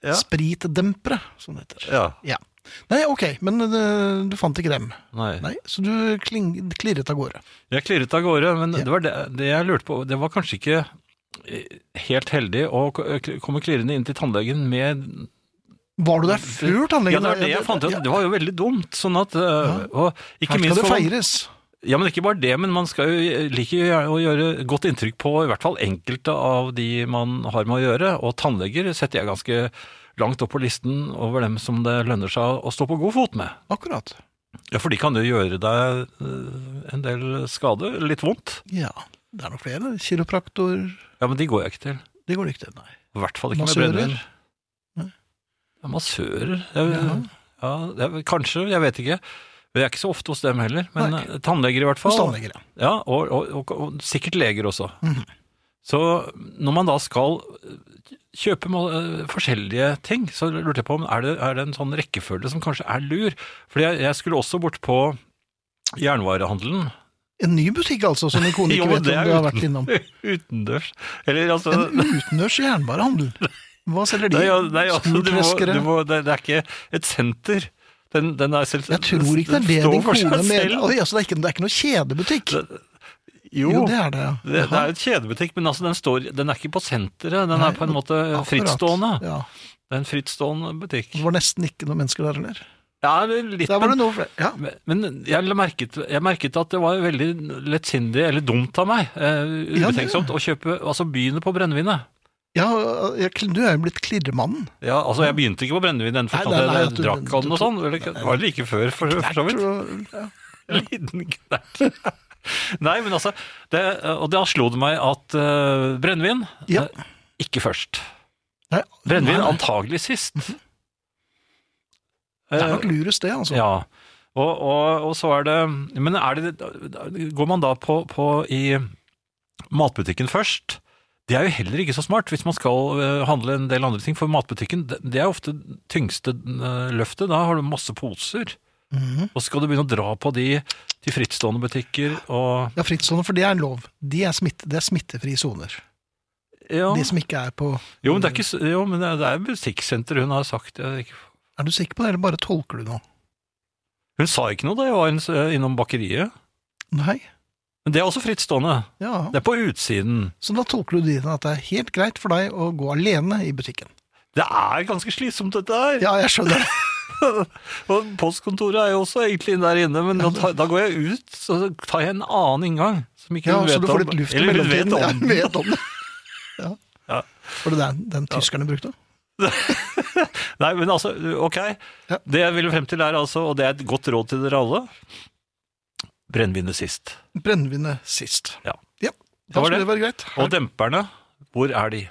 Speaker 3: Ja.
Speaker 2: Spritdempere, som det heter.
Speaker 3: Ja.
Speaker 2: Nei, ok, men eh, du fant ikke dem.
Speaker 3: Nei.
Speaker 2: Nei, Så du kling, klirret av gårde.
Speaker 3: Jeg klirret av gårde, men
Speaker 2: Ja.
Speaker 3: det var det, det jeg lurte på. Det var kanskje ikke eh, helt heldig å k- eh, komme klirrende inn til tannlegen med
Speaker 2: Var du der før tannlegen?
Speaker 3: Ja, det var det jeg fant ut. Det var jo veldig dumt. Sånn at eh, Og ikke
Speaker 2: Her
Speaker 3: minst
Speaker 2: skal det
Speaker 3: for-
Speaker 2: feires.
Speaker 3: Ja, men ikke bare det, men man skal jo liker jo gjerne å gjøre godt inntrykk på i hvert fall enkelte av de man har med å gjøre, og tannleger setter jeg ganske langt opp på listen over dem som det lønner seg å stå på god fot med.
Speaker 2: Akkurat.
Speaker 3: Ja, for de kan jo gjøre deg eh, en del skade, litt vondt.
Speaker 2: Ja, det er nok flere. Kiropraktor
Speaker 3: Ja, men de går jeg ikke til.
Speaker 2: Det går det ikke til, nei.
Speaker 3: I hvert fall ikke
Speaker 2: Massører?
Speaker 3: med brennevin.
Speaker 2: Nei.
Speaker 3: Ja, massører jeg, ja.
Speaker 2: Ja.
Speaker 3: det er, Kanskje, jeg vet ikke. Jeg er ikke så ofte hos dem heller, men
Speaker 2: Nei.
Speaker 3: eh, tannleger i hvert
Speaker 2: Hos
Speaker 3: fall.
Speaker 2: tannleger, ja.
Speaker 3: Ja, og, og, og, og sikkert leger også.
Speaker 2: Mhm.
Speaker 3: Så når man da skal eh, kjøpe må- eh, forskjellige ting, så lurte jeg på om er det er det en sånn rekkefølge som kanskje er lur. Fordi jeg, jeg skulle også bort på jernvarehandelen
Speaker 2: En ny butikk, altså, som din kone
Speaker 3: Jo,
Speaker 2: ikke
Speaker 3: men
Speaker 2: vet
Speaker 3: det er
Speaker 2: om du har
Speaker 3: uten-
Speaker 2: vært innom.
Speaker 3: utendørs. Eller altså
Speaker 2: En utendørs jernbarehandel. Hva selger de?
Speaker 3: Nei, ja, nei altså, du må,
Speaker 2: Smurtveskere?
Speaker 3: du må, det, det er ikke et senter. Den, den er selv,
Speaker 2: Jeg tror ikke det er
Speaker 3: den
Speaker 2: det
Speaker 3: står
Speaker 2: din
Speaker 3: for seg
Speaker 2: kone mener.
Speaker 3: selv.
Speaker 2: Oi, altså, det, er ikke, det er ikke noe kjedebutikk?
Speaker 3: Det-
Speaker 2: Jo,
Speaker 3: Jo,
Speaker 2: det er det. ja.
Speaker 3: det, det
Speaker 2: Jaha.
Speaker 3: er et kjedebutikk, men altså, den, står, den er ikke på senteret. Den
Speaker 2: Nei,
Speaker 3: er på en
Speaker 2: og-
Speaker 3: måte
Speaker 2: Akkurat.
Speaker 3: frittstående.
Speaker 2: Ja.
Speaker 3: Det er en frittstående butikk.
Speaker 2: Det var nesten ikke noen mennesker der heller.
Speaker 3: Ja, litt,
Speaker 2: Der var det
Speaker 3: men,
Speaker 2: noe flere. Ja.
Speaker 3: men jeg la merket, jeg merket at det var veldig lettsindig, eller dumt av meg, eh,
Speaker 2: Ja, det-
Speaker 3: ubetenksomt, å kjøpe, altså begynne på brennevinet.
Speaker 2: Ja, jeg, du er jo blitt klirremannen.
Speaker 3: Ja, altså jeg begynte ikke på brennevin, den forstand
Speaker 2: nei,
Speaker 3: at
Speaker 2: nei,
Speaker 3: jeg
Speaker 2: at du-
Speaker 3: drakk av den
Speaker 2: du
Speaker 3: og
Speaker 2: tok-
Speaker 3: sånn, eller det var like før, for, for så vidt.
Speaker 2: Ja.
Speaker 3: En liten knert. Nei, men altså, det, og da slo det meg at uh, brennevin,
Speaker 2: Ja.
Speaker 3: eh, ikke først.
Speaker 2: Nei,
Speaker 3: Brennevin
Speaker 2: nei, nei.
Speaker 3: antagelig sist.
Speaker 2: Det er
Speaker 3: Eh,
Speaker 2: nok lurest, det, altså.
Speaker 3: Ja, og, og, og så er det Men er det, går man da på, på i matbutikken først? Det er jo heller ikke så smart hvis man skal eh, handle en del andre ting, for matbutikken det det er jo ofte tyngste eh, løftet. Da har du masse poser,
Speaker 2: Mhm.
Speaker 3: og så skal du begynne å dra på de til frittstående butikker og
Speaker 2: Ja, frittstående, for det er en lov. De er smitte, det er smittefrie soner.
Speaker 3: ja.
Speaker 2: De som ikke er på
Speaker 3: Jo, men det er, ikke, s- jo, men det er- det er butikksenter hun har sagt. Jeg, ikke-
Speaker 2: Er du sikker på det, eller bare tolker du nå?
Speaker 3: hun sa ikke noe da jeg var inn- eh, innom bakeriet.
Speaker 2: Nei?
Speaker 3: Men det er også frittstående.
Speaker 2: Ja.
Speaker 3: Det er på utsiden.
Speaker 2: Så da tolker du det inn at det er helt greit for deg å gå alene i butikken.
Speaker 3: Det er ganske slitsomt, dette her.
Speaker 2: Ja, jeg skjønner det.
Speaker 3: Og postkontoret er jo også egentlig der inne, men da, tar- da går jeg ut, så tar jeg en annen inngang. Som ikke
Speaker 2: Ja,
Speaker 3: hun vet
Speaker 2: så du får
Speaker 3: om.
Speaker 2: litt luft i
Speaker 3: Eller hun vet
Speaker 2: mellomtiden. Ja,
Speaker 3: om.
Speaker 2: hun vet om det. Ja.
Speaker 3: Ja.
Speaker 2: Var det den, den tyskerne brukte?
Speaker 3: Nei, men altså, ok.
Speaker 2: Ja.
Speaker 3: Det jeg ville frem til er altså, og det er et godt råd til dere alle brennevinet sist.
Speaker 2: Brennevinet sist.
Speaker 3: Ja.
Speaker 2: Ja,
Speaker 3: Det
Speaker 2: da
Speaker 3: var
Speaker 2: skulle
Speaker 3: det.
Speaker 2: det være greit.
Speaker 3: Og demperne, hvor er de?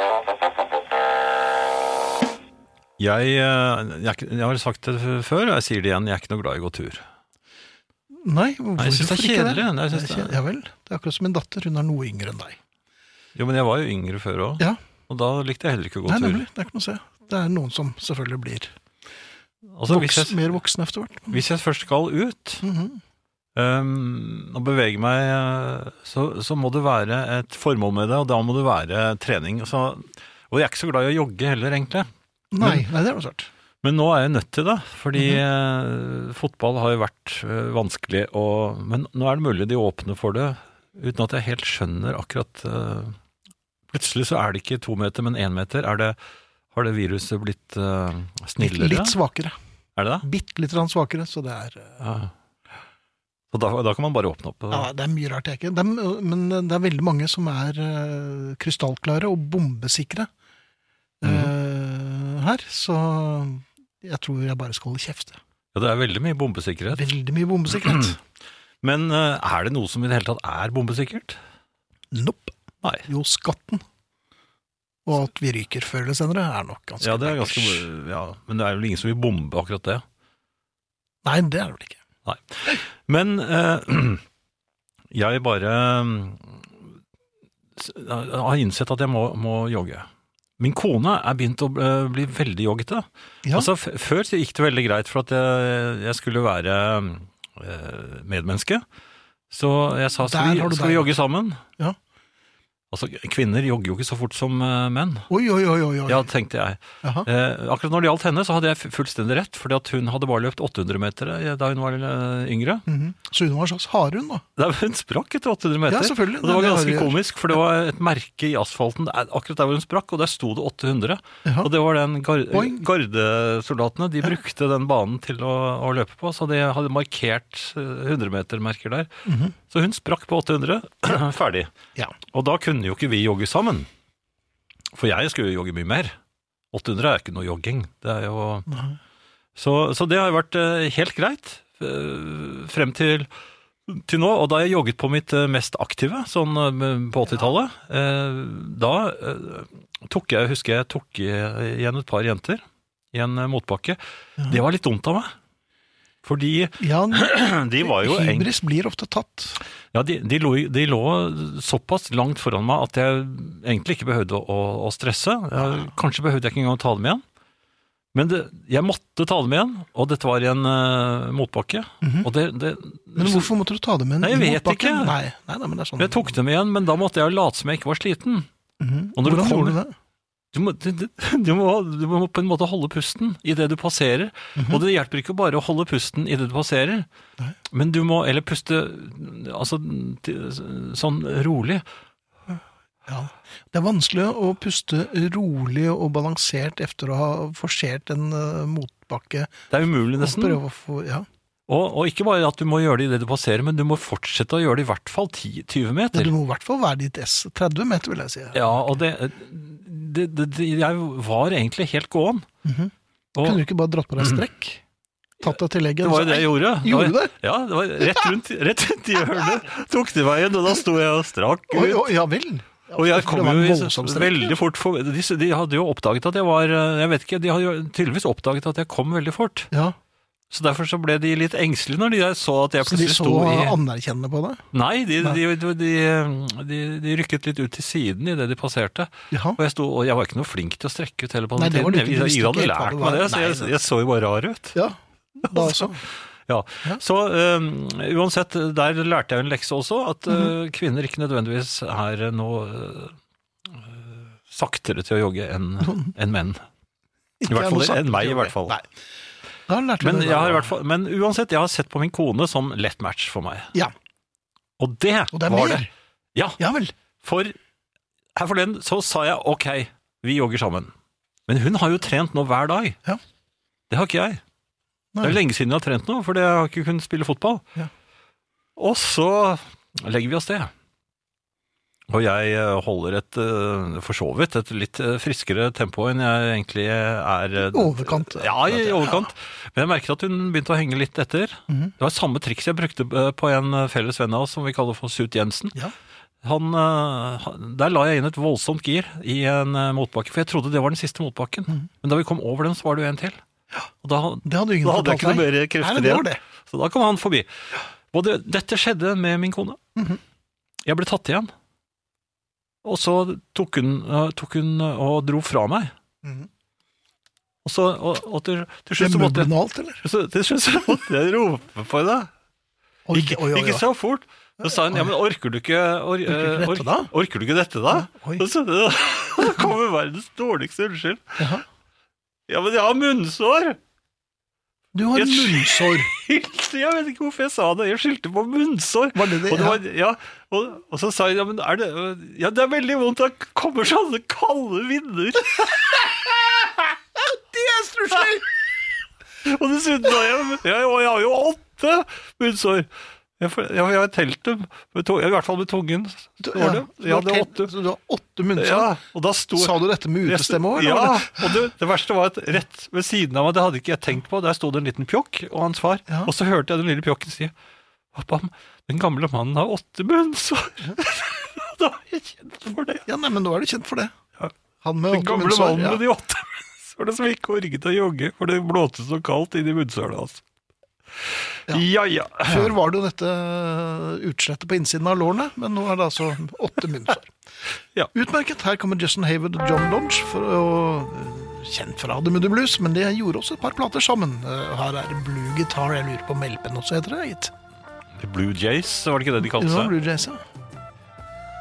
Speaker 3: Jeg, eh, jeg, er ikke- jeg har sagt det f- før, og jeg sier det igjen, jeg er ikke noe glad i å gå tur.
Speaker 2: Nei,
Speaker 3: jeg synes det er
Speaker 2: hvorfor ikke
Speaker 3: kjedelig. Nei, jeg
Speaker 2: Det
Speaker 3: synes
Speaker 2: er
Speaker 3: det er-
Speaker 2: kjedelig. Ja vel. Det er akkurat som min datter, hun er noe yngre enn deg.
Speaker 3: Jo, men jeg var jo yngre før òg,
Speaker 2: Ja,
Speaker 3: og da likte jeg heller ikke å gå
Speaker 2: nei,
Speaker 3: tur.
Speaker 2: nemlig. Det er ikke noe å se. Det er noen som selvfølgelig blir
Speaker 3: Altså,
Speaker 2: voks,
Speaker 3: hvis, jeg,
Speaker 2: mer voksne etter hvert.
Speaker 3: hvis jeg først skal ut
Speaker 2: Mhm.
Speaker 3: um, og bevege meg, eh, så, så må det være et formål med det, og da må det være trening. Så, og jeg er ikke så glad i å jogge heller, egentlig.
Speaker 2: Nei, nei, det er noe svært.
Speaker 3: Men nå er jeg nødt til det, fordi eh, fotball har jo vært eh, vanskelig. Og, men nå er det mulig de åpner for det, uten at jeg helt skjønner akkurat eh, Plutselig så er det ikke to meter, men én meter. Er det, har det viruset blitt eh,
Speaker 2: Litt,
Speaker 3: snillere?
Speaker 2: litt svakere.
Speaker 3: er det det?
Speaker 2: Bitte litt grann svakere, så det er eh,
Speaker 3: Ja. Så da, da kan man bare åpne opp. eh.
Speaker 2: ja, Det er mye rart jeg ikke det er, Men det er veldig mange som er eh, krystallklare og bombesikre
Speaker 3: Mhm.
Speaker 2: eh, her, så jeg tror jeg bare skal holde kjeft. jeg.
Speaker 3: Ja, det er veldig mye bombesikkerhet.
Speaker 2: Veldig mye bombesikkerhet.
Speaker 3: Men eh, er det noe som i det hele tatt er bombesikkert?
Speaker 2: Nope.
Speaker 3: Nei.
Speaker 2: Jo, skatten. Og at vi ryker før eller senere, er nok ganske
Speaker 3: Ja, det er ganske,
Speaker 2: bankers.
Speaker 3: ja, men det er vel ingen som vil bombe akkurat det.
Speaker 2: Nei, det er det vel ikke.
Speaker 3: Men eh, jeg bare mm, s- har innsett at jeg må, må jogge. Min kone er begynt å eh, bli veldig joggete.
Speaker 2: Ja.
Speaker 3: Altså, f før så gikk det veldig greit, for at jeg, jeg skulle være eh, medmenneske. Så jeg sa skal
Speaker 2: Der har
Speaker 3: vi,
Speaker 2: du
Speaker 3: skal vi
Speaker 2: deg.
Speaker 3: jogge sammen?
Speaker 2: Ja.
Speaker 3: Altså, kvinner jogger jo ikke så fort som eh, menn.
Speaker 2: Oi, oi, oi, oi. oi.
Speaker 3: Ja, tenkte jeg.
Speaker 2: Jaha.
Speaker 3: Eh, akkurat når det gjaldt henne, så hadde jeg fu- fullstendig rett, fordi at hun hadde bare løpt 800 meter eh, da hun var eh, yngre.
Speaker 2: Mhm. Så hun var en slags harehund, da.
Speaker 3: Nei, men Hun sprakk etter 800 meter.
Speaker 2: Ja, selvfølgelig.
Speaker 3: Og det var
Speaker 2: Det har
Speaker 3: ganske
Speaker 2: vi gjort.
Speaker 3: komisk, for det var et merke i asfalten der- akkurat der hvor hun sprakk, og der sto det 800.
Speaker 2: Jaha.
Speaker 3: Og det var den gar
Speaker 2: Boing.
Speaker 3: gardesoldatene, de brukte den banen til å, å løpe på, så de hadde markert eh, 100-metermerker der. Så hun sprakk på 800, ferdig.
Speaker 2: Ja.
Speaker 3: Og da kunne jo ikke vi jogge sammen. For jeg skulle jo jogge mye mer. 800 er ikke noe jogging. Det er jo... Så, så det har vært eh, helt greit eh, frem til til nå, og da jeg jogget på mitt eh, mest aktive, sånn eh, på 80-tallet, eh, da eh, tok jeg, husker jeg, tok i- igjen et par jenter i en eh, motbakke. Det var litt dumt av meg. Fordi
Speaker 2: Ja,
Speaker 3: de var jo eng...
Speaker 2: hybris blir ofte tatt.
Speaker 3: Ja, de, de, lå, de lå såpass langt foran meg at jeg egentlig ikke behøvde å, å, å stresse. Jeg, kanskje behøvde jeg ikke engang å ta dem igjen. Men det, jeg måtte ta dem igjen, og dette var i en eh, motbakke. Og det, det,
Speaker 2: Mhm. Men hvorfor måtte du ta det med en
Speaker 3: Nei, jeg
Speaker 2: i
Speaker 3: vet
Speaker 2: motbakken?
Speaker 3: ikke.
Speaker 2: Nei, nei, nei, men det er sånn.
Speaker 3: Jeg tok dem igjen, men da måtte jeg jo late som jeg ikke var sliten.
Speaker 2: Mhm.
Speaker 3: Og når du
Speaker 2: Hvordan
Speaker 3: kommer-
Speaker 2: gjorde du det?
Speaker 3: Du må, du, du- du må, du må på en måte holde pusten idet du passerer. Og det hjelper ikke bare å holde pusten idet du passerer,
Speaker 2: Mhm. Nei.
Speaker 3: men du må Eller puste altså, t- sånn rolig.
Speaker 2: Ja. Det er vanskelig å puste rolig og balansert etter å ha forsert en eh, motbakke.
Speaker 3: Det er umulig,
Speaker 2: Og
Speaker 3: nesten.
Speaker 2: prøve å få, ja.
Speaker 3: Og, og ikke bare at du må gjøre det idet du passerer, men du må fortsette å gjøre det i hvert fall 10, 20
Speaker 2: Men
Speaker 3: meter.
Speaker 2: Du må i hvert fall være ditt S. 30 meter, vil jeg si.
Speaker 3: Ja, og det, det, det, det Jeg var egentlig helt gåen.
Speaker 2: Mhm. Kunne du
Speaker 3: Og
Speaker 2: ikke bare dratt på deg strekk? Tatt deg til leggen?
Speaker 3: det
Speaker 2: og
Speaker 3: var jo
Speaker 2: så-
Speaker 3: det jeg gjorde. Det
Speaker 2: Gjorde
Speaker 3: var-
Speaker 2: du det?
Speaker 3: Ja, det var rett rundt, rett rundt i hjørnet tok de veien, og da sto jeg og strakk ut.
Speaker 2: Oi, oi, ja vel. Ja,
Speaker 3: Og jeg
Speaker 2: for
Speaker 3: kom
Speaker 2: det var
Speaker 3: jo
Speaker 2: en
Speaker 3: i-
Speaker 2: voldsom strekk, ja.
Speaker 3: veldig fort for, de, de hadde jo oppdaget at jeg var eh, Jeg vet ikke, de hadde jo tydeligvis oppdaget at jeg kom veldig fort.
Speaker 2: Ja,
Speaker 3: Så derfor så ble de litt engstelige når de så at jeg
Speaker 2: Så de
Speaker 3: plutselig
Speaker 2: så
Speaker 3: sto i
Speaker 2: anerkjennende på deg?
Speaker 3: Nei, de,
Speaker 2: Nei.
Speaker 3: de, de, de, de, de rykket litt ut til siden idet de passerte.
Speaker 2: Jaha.
Speaker 3: Og jeg, sto, og jeg var ikke noe flink til å strekke ut heller på
Speaker 2: Nei,
Speaker 3: den
Speaker 2: det var du ikke.
Speaker 3: tiden. Jeg,
Speaker 2: Du
Speaker 3: jeg,
Speaker 2: visste ikke
Speaker 3: hadde
Speaker 2: helt hva
Speaker 3: lært
Speaker 2: det
Speaker 3: meg det,
Speaker 2: var.
Speaker 3: så jeg,
Speaker 2: Nei,
Speaker 3: jeg så jo bare rar ut.
Speaker 2: Ja, da også.
Speaker 3: Ja.
Speaker 2: Ja.
Speaker 3: Så øhm, uansett, der lærte jeg en lekse også, at
Speaker 2: Mhm.
Speaker 3: øh, kvinner ikke nødvendigvis er øh, noe øh, øh, saktere til å jogge enn enn menn. I hvert fall enn meg, i hvert fall.
Speaker 2: Nei. Da lærte du
Speaker 3: Men,
Speaker 2: det
Speaker 3: jeg
Speaker 2: da.
Speaker 3: har i hvert fall, men uansett, jeg har sett på min kone som lett match for meg.
Speaker 2: Ja,
Speaker 3: Og det,
Speaker 2: og det er
Speaker 3: var
Speaker 2: mer.
Speaker 3: det. Ja,
Speaker 2: Ja vel.
Speaker 3: for her forleden så sa jeg ok, vi jogger sammen. Men hun har jo trent nå hver dag.
Speaker 2: Ja.
Speaker 3: Det har ikke jeg. Det
Speaker 2: Nei.
Speaker 3: er lenge siden jeg har trent nå, for jeg har ikke kunnet spille fotball.
Speaker 2: Ja.
Speaker 3: Og så legger vi oss det. Og jeg eh, holder et, eh, for så vidt, et litt eh, friskere tempo enn jeg egentlig er eh,
Speaker 2: Overkant.
Speaker 3: Ja, i overkant. Men jeg merket at hun begynte å henge litt etter. Det var samme triks jeg brukte eh, på en eh, felles venn av oss som vi kaller for Sut Jensen.
Speaker 2: Ja.
Speaker 3: Han, eh, han- der la jeg inn et voldsomt gir i en eh, motbakke, for jeg trodde det var den siste motbakken. Men da vi kom over den, så var det jo en til. Og da,
Speaker 2: Det hadde ingen
Speaker 3: da hadde jeg ikke
Speaker 2: fortalt
Speaker 3: noe
Speaker 2: meg.
Speaker 3: mer
Speaker 2: Nei,
Speaker 3: krefter
Speaker 2: det var
Speaker 3: igjen.
Speaker 2: det.
Speaker 3: Så da kom han forbi. Og det, dette skjedde med min kone.
Speaker 2: Mhm.
Speaker 3: Jeg ble tatt igjen. Og så tok hun, eh, tok hun og dro fra meg.
Speaker 2: Mhm.
Speaker 3: Og, så, og, og til, til
Speaker 2: Det
Speaker 3: slutt så måtte jeg
Speaker 2: møblene og alt, eller?
Speaker 3: så til slutt så måtte jeg rope på henne.
Speaker 2: Oi,
Speaker 3: Ikke,
Speaker 2: oi, oi,
Speaker 3: ikke
Speaker 2: oi.
Speaker 3: så fort. Så sa hun ja, men orker du ikke, or,
Speaker 2: Orker du ikke dette
Speaker 3: ork-
Speaker 2: da?»
Speaker 3: Orker du ikke dette, da?
Speaker 2: Oi.
Speaker 3: Og så, da kommer verdens dårligste unnskyld.
Speaker 2: Jaha.
Speaker 3: Ja, men jeg har munnsår!
Speaker 2: Du har
Speaker 3: Jeg-
Speaker 2: munnsår.
Speaker 3: Jeg vet ikke hvorfor jeg sa det. Jeg skyldte på munnsår.
Speaker 2: Var det det?
Speaker 3: Og, det var, ja, og, og så sa jeg ja, men er det, ja, det er veldig vondt, det kommer sånne kalde vinder.
Speaker 2: Det er stusslig!
Speaker 3: Og dessuten har jeg, jeg, og jeg har jo åtte munnsår. Jeg, får- jeg, jeg har telt dem, med to, i hvert fall med tungen. Så var det. Jeg hadde åtte.
Speaker 2: Så du har åtte munnsår?
Speaker 3: Ja, og da sto
Speaker 2: Sa du dette med utestemme òg?
Speaker 3: Ja, og det, det verste var at rett ved siden av meg, det hadde ikke jeg tenkt på, der sto det en liten pjokk og hans far,
Speaker 2: Ja.
Speaker 3: og så hørte jeg den lille pjokken si Pappa, den gamle mannen har åtte munnsår. da har jeg kjent for det.
Speaker 2: Ja, nei, men nå er du kjent for det.
Speaker 3: Ja.
Speaker 2: Han med
Speaker 3: Den
Speaker 2: åtte
Speaker 3: gamle
Speaker 2: munnsår.
Speaker 3: mannen
Speaker 2: Ja.
Speaker 3: med de åtte munnsårene som ikke orket å jogge, for det blåste så kaldt inn i munnsårene hans. Ja. ja
Speaker 2: Før var det jo dette eh, utslettet på innsiden av lårene, men nå er det altså åtte munnsår.
Speaker 3: Ja.
Speaker 2: Utmerket. Her kommer Justin Hayward og John Lodge, for å, eh, kjent fra The Moody Blues, men de gjorde også et par plater sammen. Eh, Her er det Blue Guitar, jeg lurer på om LP-en også heter det, gitt.
Speaker 3: The Blue Jays, var det ikke det de kalte
Speaker 2: Det var
Speaker 3: seg?
Speaker 2: Blue Jays, ja.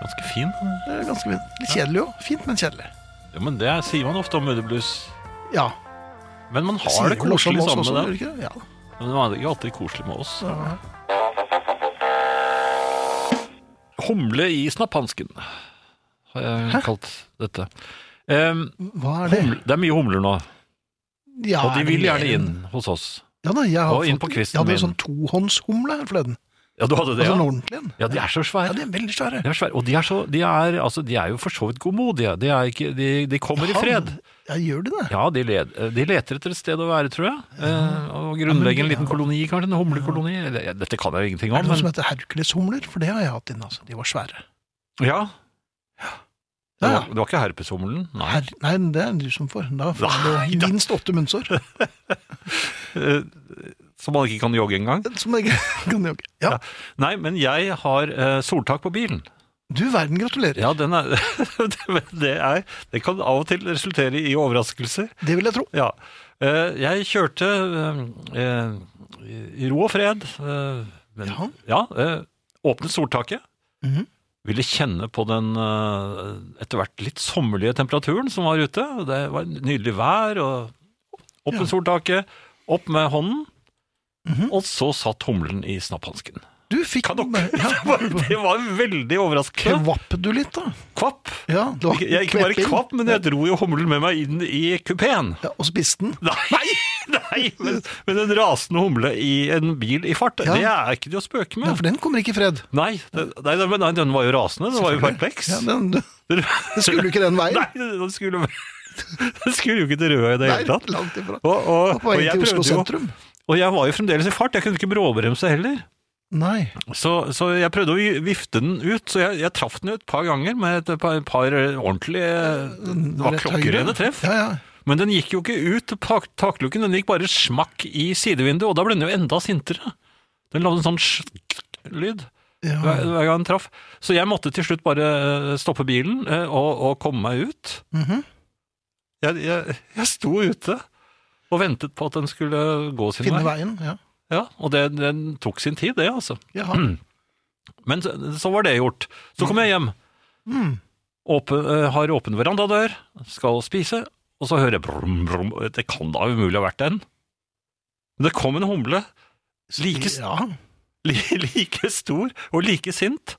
Speaker 3: Ganske fin.
Speaker 2: Det er ganske fint. Litt kjedelig òg. Fint, men kjedelig.
Speaker 3: Ja, men det sier man ofte om Moody Blues.
Speaker 2: Ja.
Speaker 3: Men man har det
Speaker 2: Sier vel også om
Speaker 3: koselig
Speaker 2: oss
Speaker 3: sammen
Speaker 2: også,
Speaker 3: med dem.
Speaker 2: gjør det ikke det?
Speaker 3: Men det var jo alltid koselig med oss.
Speaker 2: Ja.
Speaker 3: Humle i snapphansken, har jeg kalt dette. Em,
Speaker 2: Hva er det?
Speaker 3: humle, det er mye humler nå,
Speaker 2: Ja,
Speaker 3: og de vil
Speaker 2: er det
Speaker 3: gjerne
Speaker 2: mer-
Speaker 3: inn hos oss.
Speaker 2: Ja, da, jeg har
Speaker 3: Og inn
Speaker 2: fått-
Speaker 3: på kvisten
Speaker 2: Jeg hadde
Speaker 3: min.
Speaker 2: en sånn tohåndshumle her forleden.
Speaker 3: Ja, du hadde det,
Speaker 2: Altså en
Speaker 3: ja?
Speaker 2: ordentlig en.
Speaker 3: Ja, de er så
Speaker 2: Ja,
Speaker 3: svære.
Speaker 2: de er veldig svære.
Speaker 3: De er svære. Og de er, så, de, er, altså, de er jo for så vidt godmodige. De, er ikke, de, de kommer i fred.
Speaker 2: Ja, gjør de det?
Speaker 3: Ja, de, led, de leter etter et sted å være, tror jeg. Eh, Og grunnlegge en liten koloni, kanskje. En humlekoloni. Eller, ja, Dette kan jeg jo ingenting
Speaker 2: Er det
Speaker 3: om,
Speaker 2: noe som
Speaker 3: men
Speaker 2: heter herkuleshumler? For det har jeg hatt inne, altså. De var svære.
Speaker 3: Ja. Det
Speaker 2: Ja,
Speaker 3: var, det var ikke herpeshumlen? Nei.
Speaker 2: Her, nei, det er du som får. Da får
Speaker 3: Nei,
Speaker 2: du
Speaker 3: da.
Speaker 2: minst åtte munnsår.
Speaker 3: Eh, Som man ikke kan jogge engang?
Speaker 2: Som jeg kan jogge. Ja.
Speaker 3: Nei, men jeg har eh, soltak på bilen.
Speaker 2: Du verden, gratulerer.
Speaker 3: Ja, den er, det, er, det kan av og til resultere i overraskelser.
Speaker 2: Det vil jeg tro.
Speaker 3: Ja. Eh, Jeg kjørte eh, eh, i ro og fred. eh, Men,
Speaker 2: Ja.
Speaker 3: ja, eh, åpnet soltaket.
Speaker 2: Mhm.
Speaker 3: Ville kjenne på den eh, etter hvert litt sommerlige temperaturen som var ute. Det var nydelig vær. og Opp med
Speaker 2: Ja.
Speaker 3: soltaket, opp med hånden. Og så satt humlen i snapphansken.
Speaker 2: Du fikk eh,
Speaker 3: Kan Det var,
Speaker 2: ja,
Speaker 3: det var veldig overraskende.
Speaker 2: Kvapp du litt, da?
Speaker 3: Kvapp!
Speaker 2: Ja, det var
Speaker 3: Ikke, jeg, ikke bare
Speaker 2: kvepping.
Speaker 3: kvapp, men jeg dro jo humlen med meg inn i kupeen.
Speaker 2: Ja, og spiste den.
Speaker 3: Nei, nei, men, men en rasende humle i en bil i fart,
Speaker 2: Ja.
Speaker 3: det er ikke det å spøke
Speaker 2: Ja,
Speaker 3: med.
Speaker 2: for den kommer ikke i fred.
Speaker 3: Nei, den, nei, den- nei, den var jo rasende, den var jo perpleks.
Speaker 2: Ja, den, det
Speaker 3: den,
Speaker 2: skulle jo ikke den veien.
Speaker 3: Nei, den skulle, den skulle jo ikke til Røa i det hele tatt.
Speaker 2: langt ifra.
Speaker 3: Og, og,
Speaker 2: På vei
Speaker 3: og,
Speaker 2: til
Speaker 3: jeg
Speaker 2: Oslo
Speaker 3: prøvde jo,
Speaker 2: sentrum.
Speaker 3: og jeg var jo fremdeles i fart, jeg kunne ikke bråbremse heller.
Speaker 2: Nei.
Speaker 3: Så, så jeg prøvde å vifte den ut, så jeg, jeg traff den jo et par ganger med et par, par ordentlige Det var
Speaker 2: Mm, Rett
Speaker 3: klokkerene
Speaker 2: høyre.
Speaker 3: treff.
Speaker 2: Ja, ja.
Speaker 3: Men den gikk jo ikke ut til tak takluken, den gikk bare smakk i sidevinduet, og da ble den jo enda sintere. Den lagde en sånn sj-lyd
Speaker 2: Ja.
Speaker 3: hver, hver gang den traff. Så jeg måtte til slutt bare eh, stoppe bilen eh, og, og komme meg ut.
Speaker 2: Mhm.
Speaker 3: Jeg, jeg, jeg sto ute og ventet på at den skulle gå sin
Speaker 2: Finne
Speaker 3: vei.
Speaker 2: veien, ja.
Speaker 3: Ja, og det, den tok sin tid, det, altså.
Speaker 2: Jaha.
Speaker 3: Men så, så var det gjort. Så kom jeg hjem.
Speaker 2: Mm.
Speaker 3: Åpen, eh, har åpen verandadør, skal spise, og så hører jeg brum, brum. Det kan da umulig ha vært den. Men det kom en humle, like, s-
Speaker 2: Ja.
Speaker 3: li- like stor og like sint,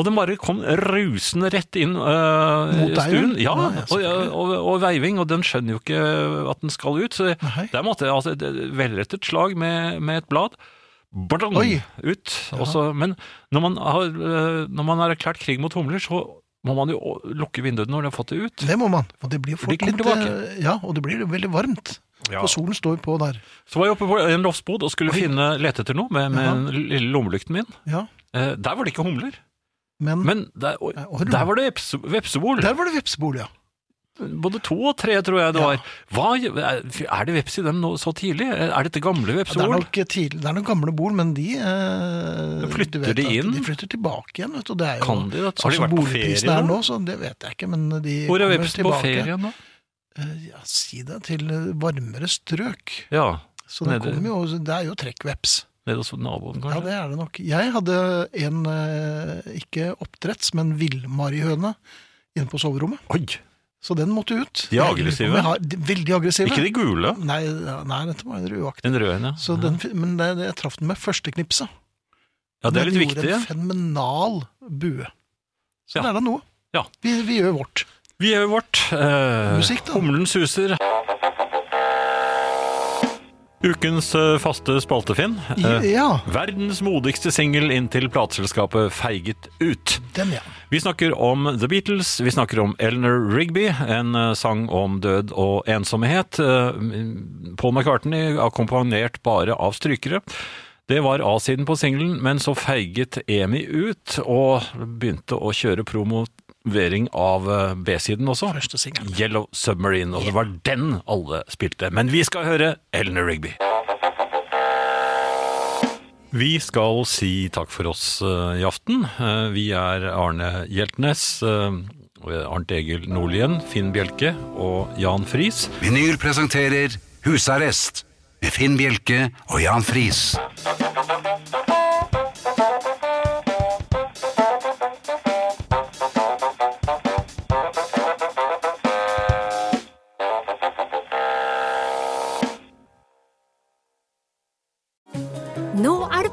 Speaker 3: og den bare kom rusende rett inn eh,
Speaker 2: Mot
Speaker 3: i
Speaker 2: deg,
Speaker 3: stuen.
Speaker 2: jo?
Speaker 3: Ja,
Speaker 2: Ja, ja,
Speaker 3: og, og, og veiving, og den skjønner jo ikke at den skal ut. Så
Speaker 2: Nei.
Speaker 3: der måtte jeg altså et et velrettet slag med, med et blad. Blang,
Speaker 2: Oi.
Speaker 3: ut. Og så, men når man, har, eh, når man har erklært krig mot humler, så må man jo å- lukke vinduene når de har fått det ut.
Speaker 2: Det må man. Og det blir jo
Speaker 3: De
Speaker 2: fort
Speaker 3: kommer
Speaker 2: litt
Speaker 3: tilbake.
Speaker 2: eh, Ja, og det blir veldig varmt.
Speaker 3: Ja.
Speaker 2: For solen står på der.
Speaker 3: Så var jeg oppe på en loftsbod og skulle finne, lete etter noe med, med den lille lommelykten min.
Speaker 2: Ja,
Speaker 3: Eh, der var det ikke humler,
Speaker 2: men,
Speaker 3: men der, og,
Speaker 2: Nei, orm.
Speaker 3: der var det vepse, vepsebol.
Speaker 2: der var det vepsebol, ja.
Speaker 3: Både to og tre, tror jeg det
Speaker 2: Ja.
Speaker 3: var. Hva, er det veps i dem nå, så tidlig? Er dette gamle
Speaker 2: Ja, Det er,
Speaker 3: vepsebol?
Speaker 2: nok tidlig, det er nok gamle bol, men de eh,
Speaker 3: Da flytter
Speaker 2: du vet
Speaker 3: de
Speaker 2: at
Speaker 3: inn?
Speaker 2: De flytter tilbake igjen, vet du. og Det er jo,
Speaker 3: Kan de dette?
Speaker 2: sånn
Speaker 3: Har de
Speaker 2: som
Speaker 3: vært på
Speaker 2: boligprisene
Speaker 3: ferie
Speaker 2: er
Speaker 3: nå?
Speaker 2: nå, så det vet jeg ikke, men de
Speaker 3: Hvor er
Speaker 2: kommer
Speaker 3: veps på
Speaker 2: tilbake.
Speaker 3: ferie nå?
Speaker 2: Eh, ja, si det til eh, varmere strøk.
Speaker 3: Ja,
Speaker 2: Så det,
Speaker 3: Nede.
Speaker 2: kommer jo, det er jo trekkveps.
Speaker 3: nede hos naboen
Speaker 2: Ja,
Speaker 3: kanskje.
Speaker 2: det er det nok. Jeg hadde en, eh, ikke oppdretts, men villmarihøne inne på soverommet.
Speaker 3: Oi,
Speaker 2: Så den måtte ut.
Speaker 3: De er
Speaker 2: Jeg lurer på
Speaker 3: aggressive.
Speaker 2: om jeg har- de- Veldig aggressive.
Speaker 3: ikke de gule?
Speaker 2: Nei, nei, dette var en rødaktig.
Speaker 3: Den røde, ja.
Speaker 2: Så den, men det, det, jeg traff den med første knipset.
Speaker 3: Ja, det er
Speaker 2: Den
Speaker 3: litt
Speaker 2: gjorde
Speaker 3: viktig.
Speaker 2: en fenomenal bue. Så
Speaker 3: Ja.
Speaker 2: det er da noe.
Speaker 3: Ja.
Speaker 2: Vi, vi gjør vårt.
Speaker 3: Vi gjør vårt. Eh,
Speaker 2: Musikk, da.
Speaker 3: Humlen suser. Ukens eh, faste spaltefinn. Eh,
Speaker 2: Ja,
Speaker 3: verdens modigste singel inntil plateselskapet feiget ut.
Speaker 2: den ja.
Speaker 3: Vi snakker om The Beatles, vi snakker om Eleanor Rigby, en eh, sang om død og ensomhet. Eh, Paul McCartney akkompagnert bare av strykere. Det var A-siden på singelen, men så feiget EMI ut og begynte å kjøre promovering av eh, B-siden også.
Speaker 2: Første singelen.
Speaker 3: Yellow Submarine, og det var den alle spilte. Men vi skal høre Eleanor Rigby. Vi skal si takk for oss eh, i aften. Eh, Vi er Arne Hjeltnes, eh, Arnt Egil Nordlien, Finn Bjelke og Jan Friis.
Speaker 1: Vinyl presenterer Husarrest med Finn Bjelke og Jan Friis.
Speaker 5: Nå er det